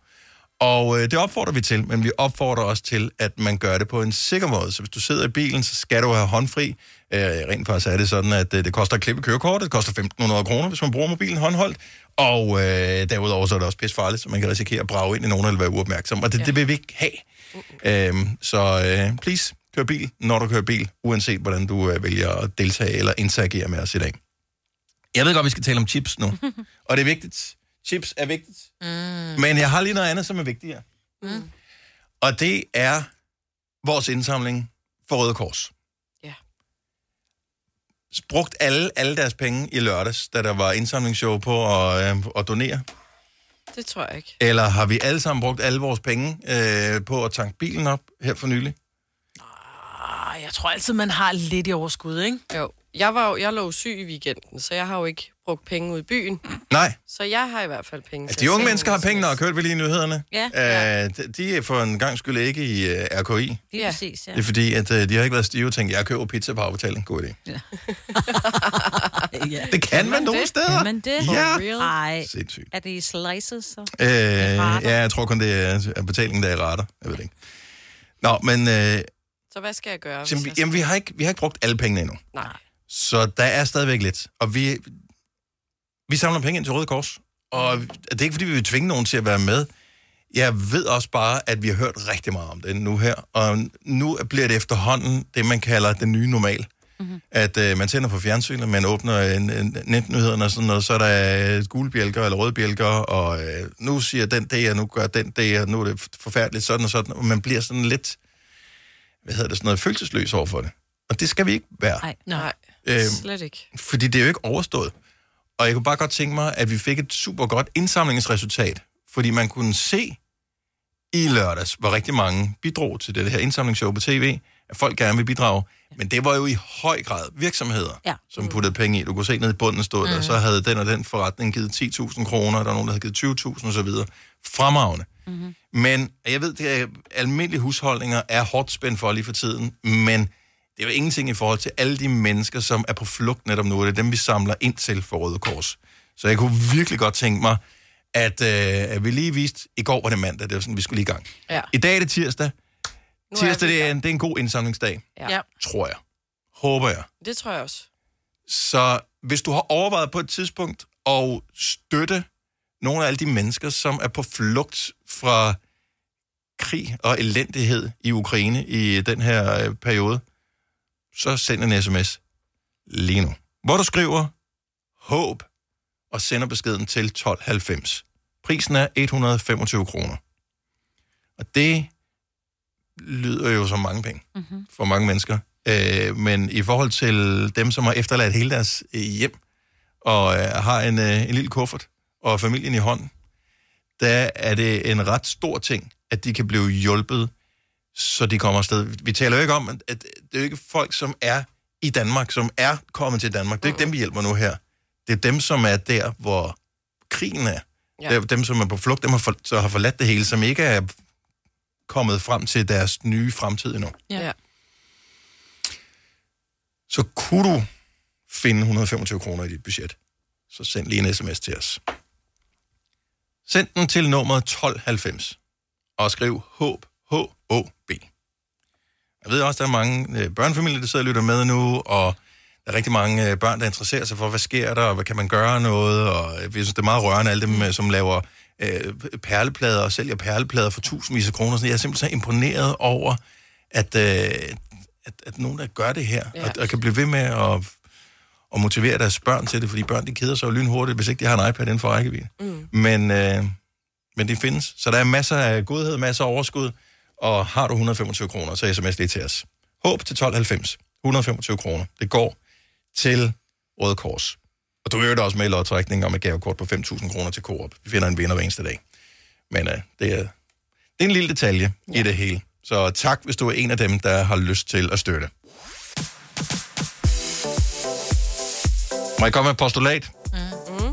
Og øh, det opfordrer vi til, men vi opfordrer også til, at man gør det på en sikker måde. Så hvis du sidder i bilen, så skal du have håndfri. Øh, rent faktisk er det sådan, at øh, det koster at klippe kørekortet. Det koster 1.500 kroner, hvis man bruger mobilen håndholdt. Og øh, derudover så er det også pissefarligt, så man kan risikere at brage ind i nogen eller være uopmærksom. Og det, ja. det vil vi ikke have. Øhm, så øh, please, kør bil, når du kører bil, uanset hvordan du øh, vælger at deltage eller interagere med os i dag. Jeg ved godt, vi skal tale om chips nu. og det er vigtigt. Chips er vigtigt. Mm. Men jeg har lige noget andet, som er vigtigere.
Mm.
Og det er vores indsamling for Røde Kors.
Ja.
Brugt alle, alle deres penge i lørdags, da der var indsamlingsshow på at, øh, at donere.
Det tror jeg ikke.
Eller har vi alle sammen brugt alle vores penge øh, på at tanke bilen op her for nylig?
Ej, jeg tror altid, man har lidt i overskud, ikke?
Jo. Jeg, var jo, jeg lå jo syg i weekenden, så jeg har jo ikke brugt penge ud i byen.
Nej. Altså,
Så jeg har i hvert fald penge.
De unge mennesker har penge nok, hørte vi lige i nyhederne.
Ja.
Øh, de- de er for en gang skyld ikke i øh, RKI.
Lige ja. præcis,
Det er fordi, at øh, de har ikke været stive og tænkt, jeg køber pizza på afbetaling. God idé.
ja.
Det kan man nogle
det?
steder.
Kan man det?
Ja.
For real? Ej,
Sindssygt.
er det i slices? Så?
Øh, ja, jeg tror kun, det er er betalingen, der er i retter. Jeg ved det ikke. Nå, men øh,
Så hvad skal jeg gøre? hvis
jamen, vi,
jeg skal-
jamen, vi, har ikke, vi har ikke brugt alle pengene endnu.
Nej.
Så der er stadigvæk lidt. Og vi, vi samler penge ind til Røde Kors. Og det er ikke, fordi vi vil tvinge nogen til at være med. Jeg ved også bare, at vi har hørt rigtig meget om det nu her. Og nu bliver det efterhånden det, man kalder den nye normal. Mm-hmm. At øh, man tænder for fjernsynet, man åbner en, en, netnyhederne og sådan noget, så er der øh, gule bjælker eller røde bjælker, og øh, nu siger den det, og nu gør den det, og nu er det f- forfærdeligt sådan og sådan. Og man bliver sådan lidt, hvad hedder det, sådan noget følelsesløs over for det. Og det skal vi ikke være.
Nej,
nej.
Øhm,
slet ikke.
Fordi det er jo ikke overstået. Og jeg kunne bare godt tænke mig, at vi fik et super godt indsamlingsresultat. Fordi man kunne se i lørdags, hvor rigtig mange bidrog til det her indsamlingsshow på tv, at folk gerne vil bidrage. Men det var jo i høj grad virksomheder,
Ja.
som puttede penge i. Du kunne se ned i bunden stod der,
Mhm.
så havde den og den forretning givet 10.000 kroner, der var nogen, der havde givet 20.000 osv. Fremragende.
Mm-hmm.
Men og jeg ved, det er, almindelige husholdninger er hårdt spændt for lige for tiden, men det er jo ingenting i forhold til alle de mennesker, som er på flugt netop nu, og det er dem, vi samler ind til for Røde Kors. Så jeg kunne virkelig godt tænke mig, at, øh, at vi lige viste, i går var det mandag, det var sådan, vi skulle lige i gang.
Ja.
I dag er det tirsdag.
Nu er
tirsdag, det er, en, det er en god indsamlingsdag,
Ja. ja.
tror jeg. Håber jeg.
Det tror jeg også.
Så hvis du har overvejet på et tidspunkt at støtte nogle af alle de mennesker, som er på flugt fra krig og elendighed i Ukraine i den her øh, periode, så send en sms lige nu, hvor du skriver håb og sender beskeden til 1290. Prisen er 125 kroner. Og det lyder jo som mange penge
Mm-hmm.
for mange mennesker. Øh, men i forhold til dem, som har efterladt hele deres øh, hjem, og øh, har en, øh, en lille kuffert, og familien i hånden, der er det en ret stor ting, at de kan blive hjulpet, så de kommer afsted. Vi taler jo ikke om, at at det er jo ikke folk, som er i Danmark, som er kommet til Danmark. Det er ikke dem, vi hjælper nu her. Det er dem, som er der, hvor krigen er.
Ja.
Ja. Det er dem, som er på flugt, dem har, for, så har forladt det hele, som ikke er kommet frem til deres nye fremtid endnu.
Ja. ja.
så kunne du finde 125 kroner i dit budget, så send lige en sms til os. Send den til nummeret 1290 og skriv HÅB, H-O-B. Jeg ved også, der er mange øh, børnefamilier, der sidder og lytter med nu, og der er rigtig mange øh, børn, der interesserer sig for, hvad sker der, og hvad kan man gøre noget, og øh, jeg synes, det er meget rørende, alle dem, øh, som laver øh, perleplader og sælger perleplader for tusindvis af kroner. Sådan, Jeg er simpelthen så imponeret over, at, øh, at, at nogen, der gør det her, ja. og, og kan blive ved med at, at motivere deres børn til det, fordi børn, de keder sig jo lynhurtigt, hvis ikke de har en iPad inden for rækkevidde. Mm. Men, øh, men det findes. Så der er masser af godhed, masser af overskud, og har du 125 kroner, så sms lige til os. Håb til 1290. 125 kroner. Det går til Røde Kors. Og du øger dig også med i lodtrækningen om et gavekort på 5.000 kroner til Coop. Vi finder en vinder hver eneste dag. Men øh, det, er, det er en lille detalje ja. i det hele. Så tak, hvis du er en af dem, der har lyst til at støtte. Må jeg komme med et postulat? Mm-hmm.
Mm.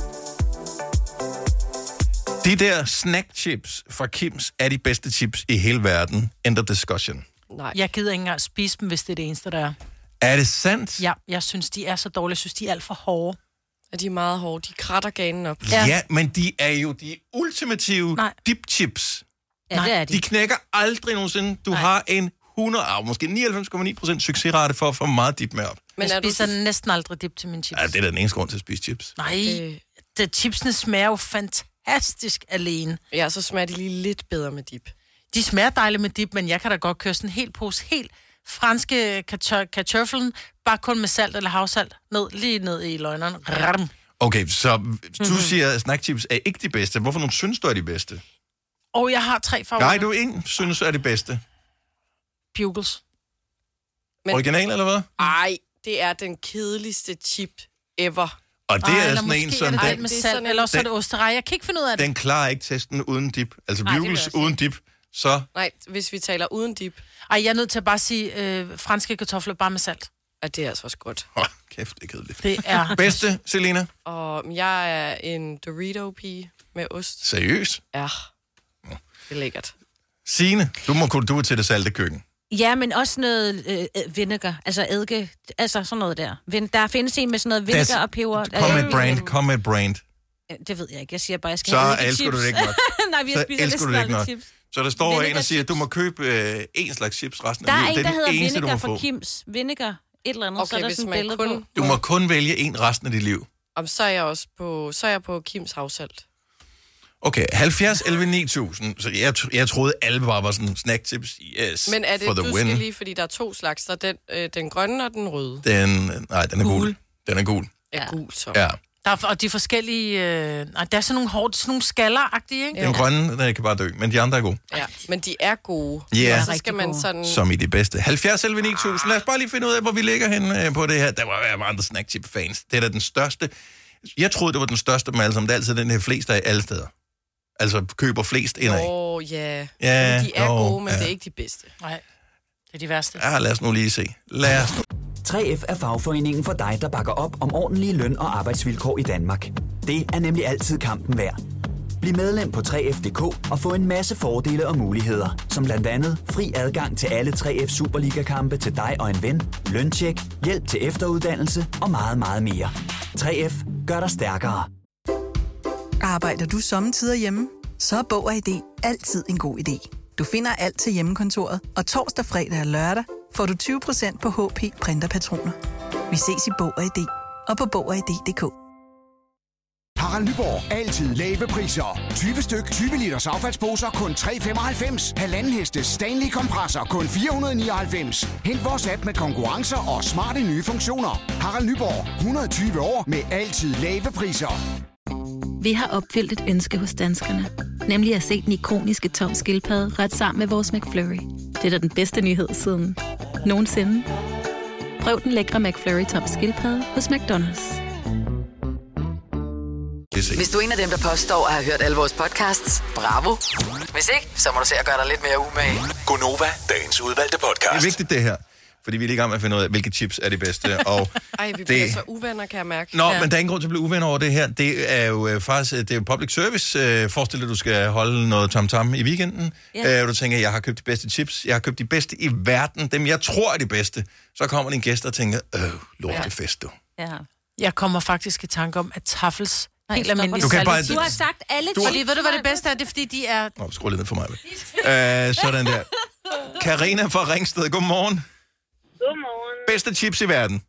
De der snackchips fra Kims er de bedste chips i hele verden. End of discussion.
Nej.
Jeg gider ikke engang spise dem, hvis det er det eneste, der er.
Er det sandt?
Ja, jeg synes, de er så dårlige. Jeg synes, de er alt for hårde.
Og de er meget hårde. De kratter ganen op.
Ja, ja men de er jo de ultimative Nej. dip chips.
Ja, det er de.
De knækker aldrig nogensinde. Du Nej. har en 100, ah, måske 99,9% succesrate for at få meget dip med op.
Men jeg spiser du... næsten aldrig dip til min chips.
Ja, det er da den eneste grund til at spise chips.
Nej, det... det, chipsene smager jo fantastisk alene.
Ja, så smager de lige lidt bedre med dip.
De smager dejligt med dip, men jeg kan da godt køre sådan en hel pose, helt franske kartø- kartøffelen, bare kun med salt eller havsalt, ned, lige ned i løgneren. Ram.
Okay, så hvis du siger, at snackchips er ikke de bedste. Hvorfor nogen synes du er de bedste?
Og jeg har tre farver.
Nej, du ikke synes er de bedste.
Bugles.
Original eller hvad?
Nej, det er den kedeligste chip ever.
Og det
Ej,
er
eller
sådan en,
måske
som
er det den,
den,
med salt, eller også er det osterej. Jeg kan ikke finde ud af det.
den klarer ikke testen uden dip. Altså
Nej, det vil jeg
bugles
også
uden dip, så
Nej, hvis vi taler uden dip. Ej, jeg er nødt til at bare sige øh, franske kartofler bare med salt. Og det er altså også godt.
Åh, kæft, det er kedeligt.
Det er-
Bedste, Selina?
Og jeg er en Dorito-pige med ost.
Seriøst?
Ja. Det er lækkert.
Signe, du må kunne du er til det salte køkken.
Ja, men også noget øh, øh, vinegar, altså eddike, altså sådan noget der. Vin- Der findes en med sådan noget
Das-
vinegar og peber.
Kom med et brand, kom med et brand.
Ja, Det ved jeg ikke. Jeg siger bare, jeg skal
Så
have eddikechips.
elsker du det ikke nok.
Nej, vi
Så
spiser lidt
elsker du det ikke nok.
chips.
Så der står en og siger, at du må købe øh, en slags chips resten
Der
af
er
livet.
en, der
det er
hedder
den eneste, du må
vinegar
få.
fra Kims. Vinegar, et eller andet, okay, så er
Okay,
der
hvis
sådan et
man
billede
kun-
på.
Du må kun vælge en resten af dit liv.
Om så er jeg også på, så er jeg på Kims havsalt.
Okay, 70, 11, 9000. Så jeg, tr- jeg troede, alle bare var sådan snacktips. Yes,
Men er det,
for the
du
win.
skal lige, fordi der er to slags, der er den, øh, den grønne og den røde.
Den, nej, den er gul. Den er gul.
Ja. Er gul, så.
Ja.
Der er, og de forskellige... Øh, nej, der er sådan nogle hårdt, sådan nogle skaller-agtige, ikke?
Den grønne, den kan bare dø, men de andre er gode.
Ja, men de er gode.
Ja.
Så skal man sådan...
Som i det bedste. 70 selv 9000. Lad os bare lige finde ud af, hvor vi ligger henne øh, på det her. Der må være andre snackchip-fans. Det er da den største. Jeg troede, det var den største med alle sammen. Det er altid den her flest af alle steder. Altså køber flest indad.
Åh, oh, ja.
Ja,
Men de er
jo,
gode, men
ja.
det er ikke de bedste.
Nej, det er de værste.
Ja, lad os nu lige se. Lad os
3F er fagforeningen for dig, der bakker op om ordentlige løn- og arbejdsvilkår i Danmark. Det er nemlig altid kampen værd. Bliv medlem på 3F.dk og få en masse fordele og muligheder, som blandt andet fri adgang til alle 3F Superliga-kampe til dig og en ven, løntjek, hjælp til efteruddannelse og meget, meget mere. 3F gør dig stærkere.
Arbejder du sommetider hjemme? Så er Bog og ID altid en god idé. Du finder alt til hjemmekontoret, og torsdag, fredag og lørdag får du 20% på HP printerpatroner. Vi ses i Bog og ID og på Bog og ID.dk.
Harald Nyborg. Altid lave priser. 20 styk, 20 liters affaldsposer kun 3,95. Halvanden heste Stanley kompresser kun 499. Hent vores app med konkurrencer og smarte nye funktioner. Harald Nyborg. 120 år med altid lave priser.
Vi har opfyldt et ønske hos danskerne. Nemlig at se den ikoniske tom skildpadde ret sammen med vores McFlurry. Det er da den bedste nyhed siden nogensinde. Prøv den lækre McFlurry tom skildpadde hos McDonald's.
Hvis du er en af dem, der påstår at have hørt alle vores podcasts, bravo. Hvis ikke, så må du se at gøre dig lidt mere umage.
Gonova, dagens udvalgte podcast. Det er vigtigt det her, fordi vi er lige i gang med at finde ud af, hvilke chips er de bedste. Og
Ej, vi
Det-
bliver så uvenner, kan jeg mærke.
Nå, ja. men der er ingen grund til at blive uvenner over det her. Det er jo øh, faktisk øh, det er jo public service. Øh, forestil dig, du skal holde noget tamtam i weekenden.
Ja.
Ja. Øh, du tænker, jeg har købt de bedste chips. Jeg har købt de bedste i verden. Dem, jeg tror er de bedste. Så kommer din gæst og tænker, øh, lortefest, du.
Ja.
Jeg kommer faktisk i tanke om, at taffels...
Nej,
helt
stop.
almindelige
Du kan bare-
salg-
Du har sagt
alle
Du-
Fordi ved du, hvad det bedste er? Det er, fordi de er...
Nå, skru lidt ned for mig. vel. Øh, sådan der. Karina fra Ringsted, godmorgen.
Godmorgen.
Bedste chips i verden.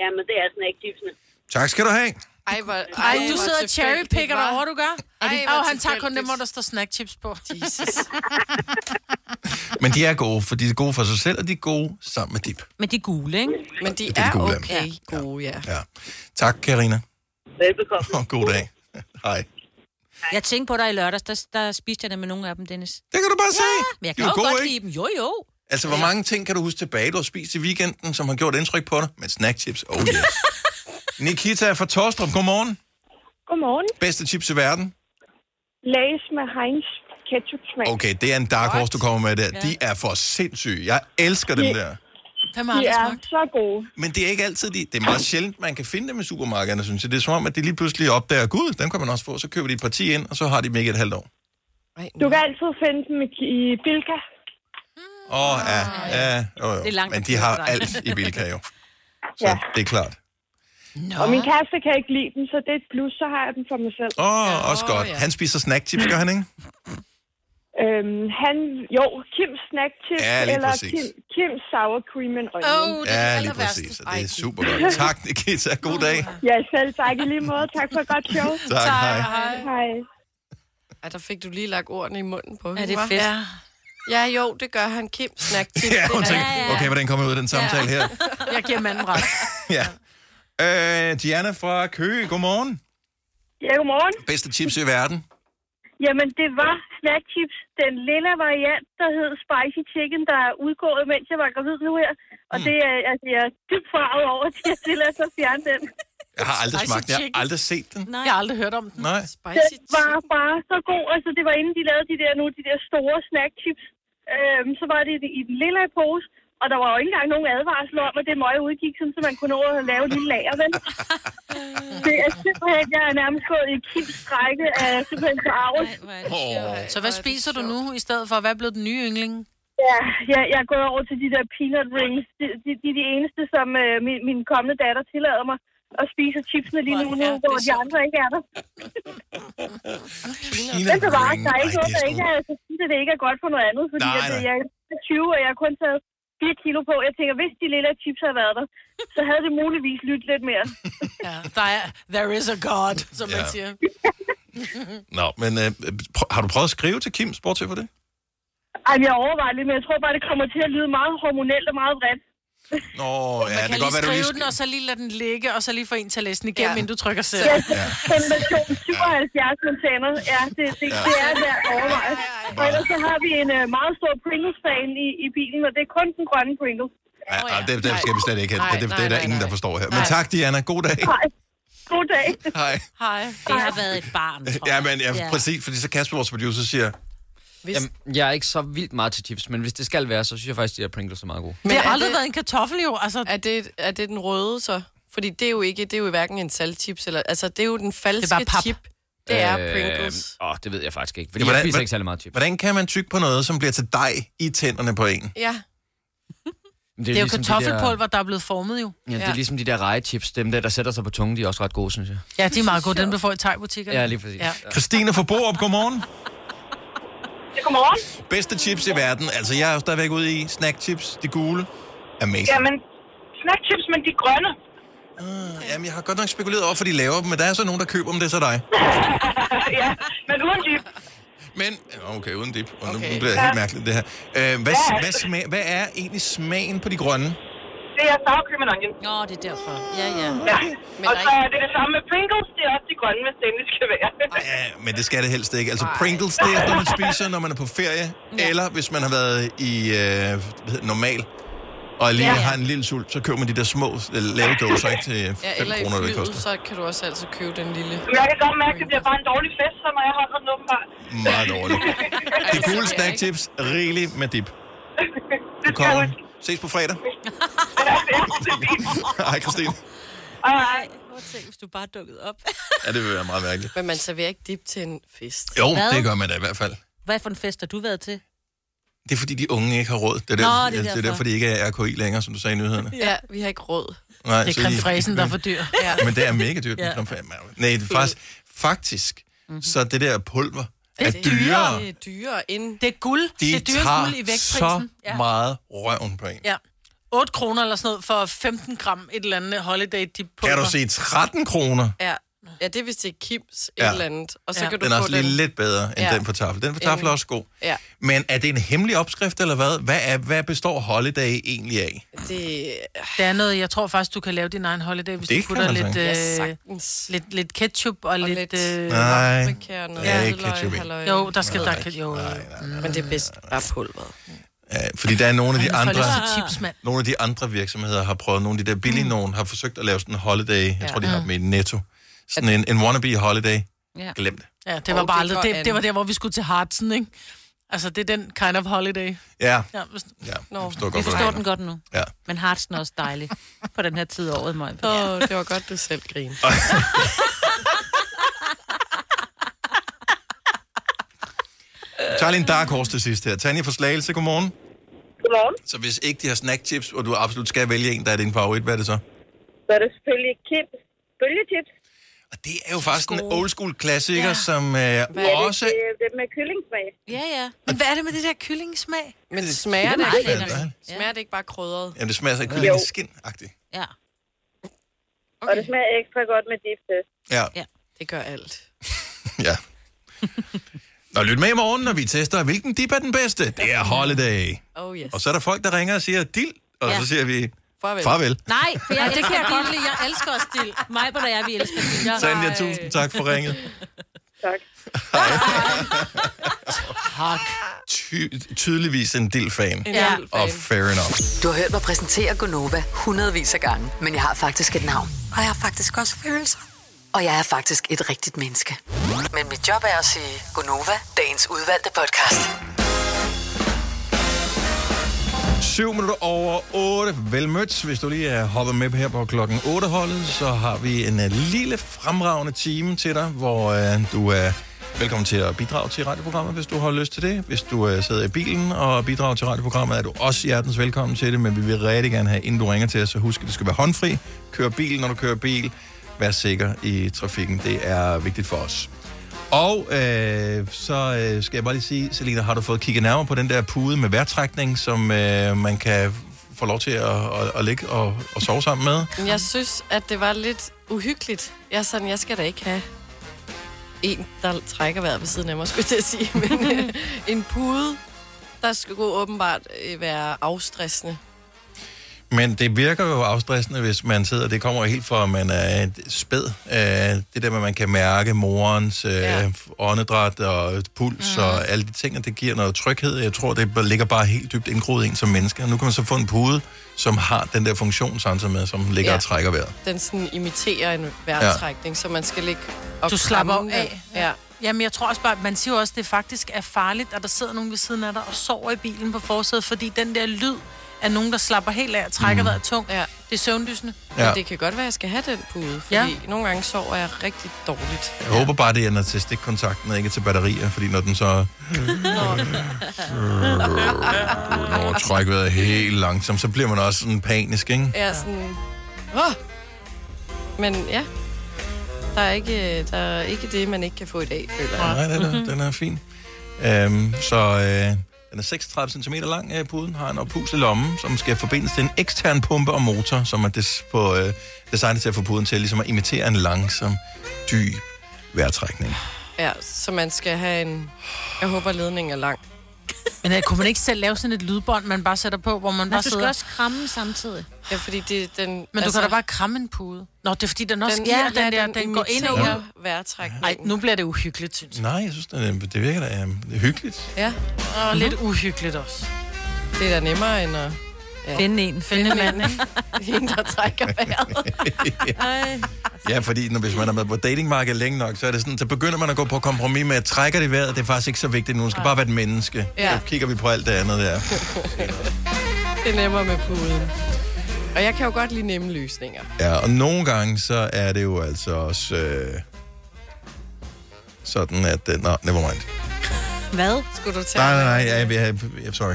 Jamen, det er snackchipsene.
Tak skal du have.
Ej, hvor,
Ej, du sidder og cherrypicker dig over, du gør.
Ej,
Ej,
hvor
og han tager kun
tilfældigt.
dem, hvor der står snackchips på. Jesus.
Men de er gode, for de er gode for sig selv, og de er gode sammen med dip.
Men de er gule, ikke?
Men de
er
er
gule, ja.
okay gode, ja.
Ja. Tak, Karina.
Velbekomme.
Og god dag. Hej.
Jeg tænkte på dig i lørdags, der, der spiste jeg det med nogle af dem, Dennis.
Det kan du bare se.
Ja, men jeg kan
Ah. De
jo
er gode,
godt
ikke?
lide dem. Jo, jo.
Altså, hvor mange ting kan du huske tilbage, du har spist i weekenden, som har gjort indtryk på dig? Men snackchips, oh yes. Nikita fra Torstrup, godmorgen.
Godmorgen.
Bedste chips i verden.
Lays med Heinz ketchup smag.
Okay, det er en dark horse, du kommer med der. De er for sindssyge. Jeg elsker dem der.
Hvem
har
aldrig
De er så gode.
Men det er ikke altid de. Det er meget sjældent, man kan finde dem i supermarkederne, synes jeg. Det er som om, at de lige pludselig opdager, gud, dem kan man også få. Så køber de et parti ind, og så har de dem ikke et halvt år.
Du kan altid finde dem i, i Bilka.
Åh, oh, ja, ja, jo, jo.
Det er langt
Men
at
de
køre
har
for dig.
alt i Bilka jo.
Ja.
Det er klart.
Og min kæreste kan ikke lide dem, så det er et plus, så har jeg dem for mig selv.
Åh, oh, også godt. Han spiser snackchips, gør han ikke?
Øhm, han, jo, Kims snack chips,
Ja, lige
eller
præcis.
Kim, Kims sour cream and onion.
Åh, det er Ja, det lige allerværste. præcis, og det er Ej. super godt. Tak, Nikita. God dag.
Ja, selv tak i lige måde. Tak for et godt show.
Tak, Tak, hej.
hej.
Ej, der fik du lige lagt ordene i munden på hende,
det er
hva'?
fedt.
Ja. Ja, jo, det gør han. Kim snak til.
Ja, hun tænkte, okay, hvordan kommer jeg ud af den samtale her?
Jeg giver manden ret.
ja. Øh, Diana fra Køge, godmorgen.
Ja, godmorgen.
Bedste chips i verden.
Jamen, det var snackchips. Den lille variant, der hed Spicy Chicken, der er udgået, mens jeg var gravid nu her. Og det er, altså, jeg er dybt farvet over, at jeg tillader sig at fjerne den.
Jeg har aldrig
Spicy
smagt den. Jeg har
chicken.
aldrig set den.
Nej. Jeg har aldrig hørt om den.
Nej.
Den var bare så god. Altså, det var inden de lavede de der, nu, de der store snackchips. Øhm, så var det i- i den lille pose, og der var jo ikke engang nogen advarsel om, at det møg udgik, sådan, så man kunne nå at lave en lille lager, vel? det er simpelthen, jeg er nærmest gået i kildstrække af simpelthen forarvet.
Så hvad spiser du nu i stedet for? Hvad er blevet den nye yndling?
Ja, jeg, jeg er gået over til de der peanut rings. De er de, de, er de eneste, som øh, min, min kommende datter tillader mig at spise chipsene lige nu, nu hvor de andre ikke er der.
Peanut
Men det var,
ring.
der er
Ej,
ikke
det
noget,
er
der
sådan
ikke
noget-
er, så synes jeg, det ikke er godt for noget andet, fordi
Nej,
at, øh,
nej.
jeg er 20, og jeg har kun taget 4 kilo på. Jeg tænker, hvis de lille chips havde været der, så havde det muligvis lyttet lidt mere.
Ja, der er, there is a god, som man
Ja.
siger.
Nå, men øh, prø- har du prøvet at skrive til Kim, sport for det?
Ej, jeg overvejer lidt, men jeg tror bare, det kommer til at lyde meget hormonelt og meget vredt.
Nå, ja,
Man kan
det kan
lige
godt være, du
skrive
lige
den, og så lige lade den ligge, og så lige få en til at læse den igennem,
Ja.
inden du trykker selv.
Ja, kombination 77 med tænder. Ja, det, det, det er værd at overveje. Og ellers så har vi en øh, meget stor Pringles-fan i, i bilen, og det er kun den grønne Pringles.
Ja, ja, det, det skal vi slet ikke have.
Nej,
Det, det, det er
nej,
der
nej,
ingen, der
nej.
forstår her. Men
Nej.
tak, Diana. God dag.
Hej. God dag.
Hej.
Hej.
Det har været et barn, tror
Ja,
jeg.
men ja, præcis, fordi så Kasper, vores producer, siger,
Hvis... Jamen, jeg er ikke så vildt meget til chips, men hvis det skal være, så synes jeg faktisk, de her Pringles er meget gode.
Men det har aldrig været en kartoffel jo. Altså...
Er, det, er det den røde så? Fordi det er jo ikke, det er jo hverken en saltchips, eller, altså det er jo den falske
bare pap.
chip. Det er Pringles.
Øh, åh, det ved jeg faktisk ikke, fordi
Ja,
hvordan,
hvordan-
jeg spiser
hvordan-
ikke særlig meget chips.
hvordan kan man tygge på noget, som bliver til dig i tænderne på en?
Ja.
Det er, det er jo kartoffelpulver, der er blevet formet jo.
De der, ligesom ja, det er ligesom de der rejechips, dem der, der sætter sig på tungen, de er også ret gode, synes jeg.
ja de er meget gode. Dem, du får i thai-butikkerne.
Ja, lige præcis.
Ja.
Christine fra Borup, godmorgen.
Godmorgen.
Bedste chips i verden. Altså, jeg er jo stadigvæk ude i snackchips, de gule. Amazing.
Jamen, snackchips, men de grønne.
Jamen, jeg har godt nok spekuleret over, for de laver dem, men der er så nogen, der køber dem, det er så dig.
ja, men uden dip.
Men, Nå, okay, uden dip. Og nu
Okay.
bliver det
Ja.
helt mærkeligt, det her. Øh, hvad,
Ja.
hvad, smag, hvad er egentlig smagen på de grønne?
Det er sour cream and onion.
Nå, det er derfor. Ja, ja.
Ja.
Men
og
der er
så
ikke-
er det det samme med Pringles, det er også de grønne, hvis det endelig skal være.
Ja, men det skal det helst ikke. Altså, Pringles, det er, når man spiser, når man er på ferie, eller hvis man har været i øh, hvad hedder, normal, og lige
Ja.
ja. har en lille sult, så køber man de der små øh, lave dåser, ikke til 5
Ja, eller i
kroner, det
flyet,
koster.
så kan du også altid købe den lille.
Men jeg kan godt mærke, at det bliver bare en dårlig fest, så når jeg holder den åbenbart.
Meget dårligt. De gule snackchips, rigeligt med dip. Du kommer. Ses på fredag. Hej, Christine.
Ej, hvor tænk, hvis du bare dukkede op.
Ja, det vil være meget mærkeligt.
Men man serverer ikke dip til en fest.
Jo, det gør man da i hvert fald.
Hvad for en fest har du været til?
Det er fordi, de unge ikke har råd. Det er,
Nå,
derfor,
det er
det er
derfor.
derfor, de ikke er RKI længere, som du sagde i nyhederne.
Ja, vi har ikke råd.
Nej,
det
så
er
I-
creme fraichen, der er for dyr. Ja.
Men det er mega dyrt.
Ja.
ja. Nej, det er faktisk, faktisk så det der pulver er dyrere.
Det er dyrere end...
Det er guld.
De
det er dyre
tager
guld i
så
vægtprisen. Ja.
meget røven på en.
ja. 8 kroner eller sådan noget for 15 gram et eller andet holiday dip på.
Kan du se 13 kroner?
Ja. ja, det er hvis det er Kims
Ja.
et eller andet. Og så
Ja.
ja. kan du
den er
få
også lige
den.
lidt bedre end
Ja.
den på tafel. Den på tafel er
Enig.
også god.
Ja,
Men er det en hemmelig opskrift, eller hvad? Hvad, er, hvad består holiday egentlig af?
det...
Det er noget, jeg tror faktisk, du kan lave din egen holiday, hvis
Det
du
kan
putter
man
lidt, øh,
sagtens.
Øh,
Ja,
lidt, lidt ketchup og, og lidt... Øh,
Nej,
paprika og
der er ikke ketchup i.
halløj. Jo, der skal
Nej,
der ketchup. Jo. øh, mm,
Men det er bedst bare pulveret.
Ja, Øh, fordi der er nogle af de
Ej, nu får
andre,
jeg lyst til chips, mand.
nogle af de andre virksomheder har prøvet, nogle af de der billige nogen har forsøgt at lave sådan en holiday, jeg tror, de har dem i Netto. Sådan en, en wannabe holiday.
Ja.
Glem det.
Ja, det var
Og
bare
det
aldrig...
går
Det,
an.
det, var der, hvor vi skulle til Hartsen, ikke? Altså, det er den kind of holiday.
Ja.
Ja, hvis...
Ja,
Nå,
jeg forstår godt,
vi
hvad du
forstår
mener.
den godt nu.
Ja.
Men Hartsen er også dejlig på den her tid af året, Maja.
Åh, oh, det var godt, du selv griner.
Vi tager lige en dark horse til sidst her. Tanja fra Slagelse, godmorgen.
Godmorgen.
Så hvis ikke de har snackchips, og du absolut skal vælge en, der er din favorit, hvad er det så?
Så er det selvfølgelig Kim. Bølgechips.
Det er jo faktisk en old school klassiker, ja. som øh, også...
Det, det, det med kyllingsmag.
Ja, ja.
Men hvad er det med det der kyllingsmag?
Men smager det,
Det er
ikke,
meget
ikke,
lækkert.
smager det ikke bare krydret?
Jamen, det smager så af
Jo.
kyllingeskin-agtigt.
Ja.
Okay. Og det smager ekstra godt med dip
øh.
til.
Ja.
ja.
Det gør alt.
Ja. Nå, lyt med i morgen, når vi tester, hvilken dip er den bedste. Det er holiday.
Oh yes.
Og så er der folk, der ringer og siger, dild, og
Ja.
så siger vi,
farvel.
farvel.
Nej, for jeg,
Nej, det kan jeg godt
lide. Jeg elsker også dild. Mig og jeg, vi elsker dild. Jeg-
Sanja, tusind tak for ringet.
Tak.
Hej.
Tak.
ty- tydeligvis en del-fan.
En Ja.
Og fair enough.
Du har hørt mig præsentere Gonova hundredvis af gange, men jeg har faktisk et navn. Og jeg har faktisk også følelser. Og jeg er faktisk et rigtigt menneske. Men mit job er at sige Gonova, dagens udvalgte podcast.
7 minutter over 8. Velmødt. Hvis du lige er hoppet med her på klokken 8-holdet, så har vi en øh, lille fremragende time til dig, hvor øh, du er velkommen til at bidrage til radioprogrammet, hvis du har lyst til det. Hvis du øh, sidder i bilen og bidrager til radioprogrammet, er du også hjertens velkommen til det, men vi vil rigtig gerne have, inden du ringer til os, så husk, at det skal være håndfri. Kør bil, når du kører bil. Vær sikker i trafikken. Det er vigtigt for os. Og øh, så øh, skal jeg bare lige sige, Selina, har du fået kigget nærmere på den der pude med vejrtrækning, som øh, man kan få lov til at, at, at ligge og, og sove sammen med?
Men Jeg synes, at det var lidt uhyggeligt. Jeg er sådan, jeg skal da ikke have en, der trækker vejret ved siden af mig, skulle jeg til at sige. Men øh, en pude, der skulle gå åbenbart øh, være afstressende.
Men det virker jo afstressende, hvis man sidder, det kommer jo helt fra, at man er et spæd. Øh, det der med, at man kan mærke morens øh, ja. åndedræt og puls mm. og alle de ting, og det giver noget tryghed. Jeg tror, det ligger bare helt dybt indgroet i en som menneske. Og nu kan man så få en pude, som har den der funktion samtidig med, som ligger ja.
Ja.
og trækker vejret.
Den sådan imiterer en vejrtrækning, ja. så man skal ligge og
Du slapper
kramme den.
af.
Ja.
Jamen, jeg tror også bare, man siger jo også, at det faktisk er farligt, at der sidder nogen ved siden af dig og sover i bilen på forsædet, fordi den der lyd af nogen, der slapper helt af og trækker mm.
Mm.
vejret tungt, ja. det er søvndysende.
Ja.
Men det kan godt være, at jeg skal have den pude, fordi ja. nogle gange sover jeg rigtig dårligt.
Jeg håber bare, det er når til stikkontakten og ikke til batterier, fordi når den så øh, trækker vejret helt langsomt, så bliver man også sådan panisk, ikke?
Jeg er sådan... Åh! Men ja, der er, ikke, øh, der er ikke det, man ikke kan få i dag, føler jeg.
Nej, den er, den er fin. Øhm, så øh, den er 36 cm lang, øh, puden har en oppus i lommen, som skal forbindes til en ekstern pumpe og motor, som er des, på, øh, designet til at få puden til ligesom at imitere en langsom, dyb vejrtrækning.
Ja, så man skal have en... Jeg håber, ledningen er lang.
Men øh, kunne man ikke selv lave sådan et lydbånd, man bare sætter på, hvor man
Men
bare
du skal
sidder...
også
kramme samtidig.
Ja, fordi det, den... altså, Men
du kan da bare kramme en pude. Nå, det er fordi, Altså- den også den, giver, ja, den, der, den, går ind og
imiterer
ud.
vejrtrækningen.
Nej, nu bliver det uhyggeligt, synes
Nej, jeg synes, det, er- det virker da øh, hyggeligt.
Ja.
Og lidt uhyggeligt også.
Det er da nemmere end at...
Finde en.
Finde en anden, ikke? En, der trækker vejret. Ej.
Ja, fordi når, hvis man er med på datingmarkedet længe nok, så, er det sådan, så begynder man at gå på kompromis med, at trækker det vejret, det er faktisk ikke så vigtigt nu. Man skal bare være et menneske.
Ja.
Så kigger vi på alt det andet der.
Det er nemmere med puden. Og jeg kan jo godt lide nemme løsninger.
Ja, og nogle gange, så er det jo altså også øh, sådan, at... Øh, nå, never mind.
Hvad?
Skulle du tage?
Nej, nej, nej, ja, jeg, jeg, jeg, sorry.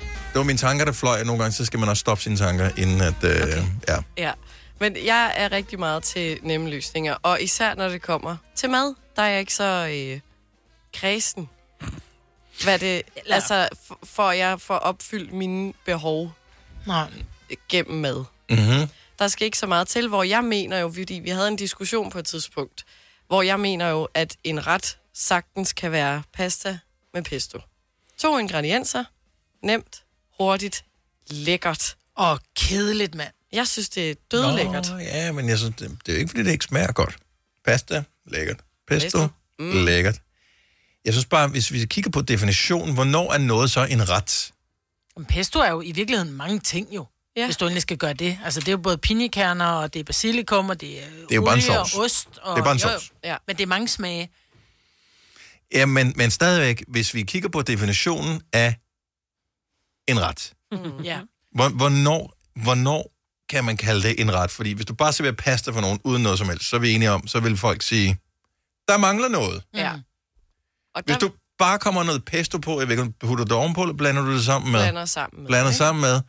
Det var mine tanker, der fløj, og nogle gange, så skal man også stoppe sine tanker, inden at... Øh, okay. Ja.
Ja, men jeg er rigtig meget til nemme løsninger, og især når det kommer til mad, der er jeg ikke så øh, kredsen. Hvad det, altså, f- for jeg får opfyldt mine behov
Nej.
gennem mad.
Mm-hmm.
Der skal ikke så meget til, hvor jeg mener jo, fordi vi havde en diskussion på et tidspunkt, hvor jeg mener jo, at en ret sagtens kan være pasta med pesto. To ingredienser, nemt, hurtigt, lækkert.
Og kedeligt, mand.
Jeg synes, det er dødlækkert.
Nå, ja, men jeg synes, det, det er jo ikke, fordi det ikke smager godt. Pasta, lækkert. Pesto,
Pesto,
mm.
mm.
lækkert. Jeg synes bare, hvis vi kigger på definitionen, hvornår er noget så en ret?
Men pesto er jo i virkeligheden mange ting jo. Ja. Hvis du endelig skal gøre det. Altså, det er jo både pinjekerner, og det er basilikum, og det er, det
jo bare
olie
en sovs.
og ost. Og,
Det er bare en
jo, jo.
sovs.
Ja.
Men det er mange smage.
Ja, men, men stadigvæk, hvis vi kigger på definitionen af en ret,
Mm. Ja.
hvor, hvornår, hvornår kan man kalde det en ret? Fordi hvis du bare serverer pasta for nogen uden noget som helst, så er vi enige om, så vil folk sige, der mangler noget.
Ja. Og
Hvis du bare kommer noget pesto på, jeg ved ikke, om du putter det ovenpå, eller blander du det sammen med?
blander sammen med.
blander
ikke?
sammen med.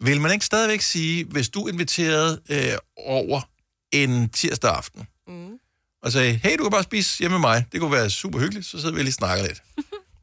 Vil man ikke stadigvæk sige, hvis du inviterede øh, over en tirsdag aften, mm. og sagde, hey, du kan bare spise hjemme med mig, det kunne være super hyggeligt, så sidder vi og lige og snakker lidt.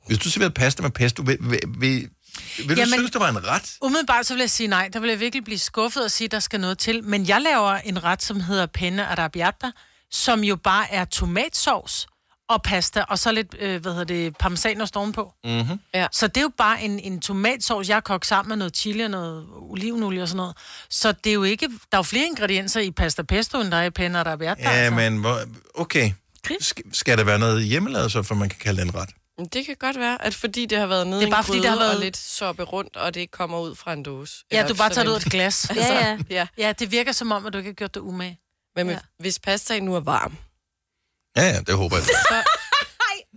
hvis du serverede pasta med pesto, vil, vil, vil, vil du
Jamen-
synes, det var en ret?
Umiddelbart så vil jeg sige nej. Der vil jeg virkelig blive skuffet og sige, at der skal noget til. Men jeg laver en ret, som hedder penne arrabbiata, som jo bare er tomatsovs og pasta, og så lidt, øh, hvad hedder det, parmesanost ovenpå.
Mm-hmm.
Ja. Så det er jo bare en, en tomatsovs, jeg har kogt sammen med noget chili og noget olivenolie og sådan noget. Så det er jo ikke... Der er jo flere ingredienser i pasta pesto, end der er i penne altså. arrabbiata.
Ja, men hvor, okay. Sk- skal der være noget hjemmelavet så, for man kan kalde det en ret?
Men Det kan godt være, at fordi det har været nede
Det er
i
bare,
en
fordi
gryde
det har været-
og lidt soppe rundt, og det ikke kommer ud fra en dåse.
Ja,
Eller
du bare tager det ud af
sådan
et glas.
en- altså,
ja.
ja.
ja, det virker som om, at du ikke har gjort det umage.
Men
ja.
hvis pastaen nu er varm,
Ja, ja, det håber jeg.
så...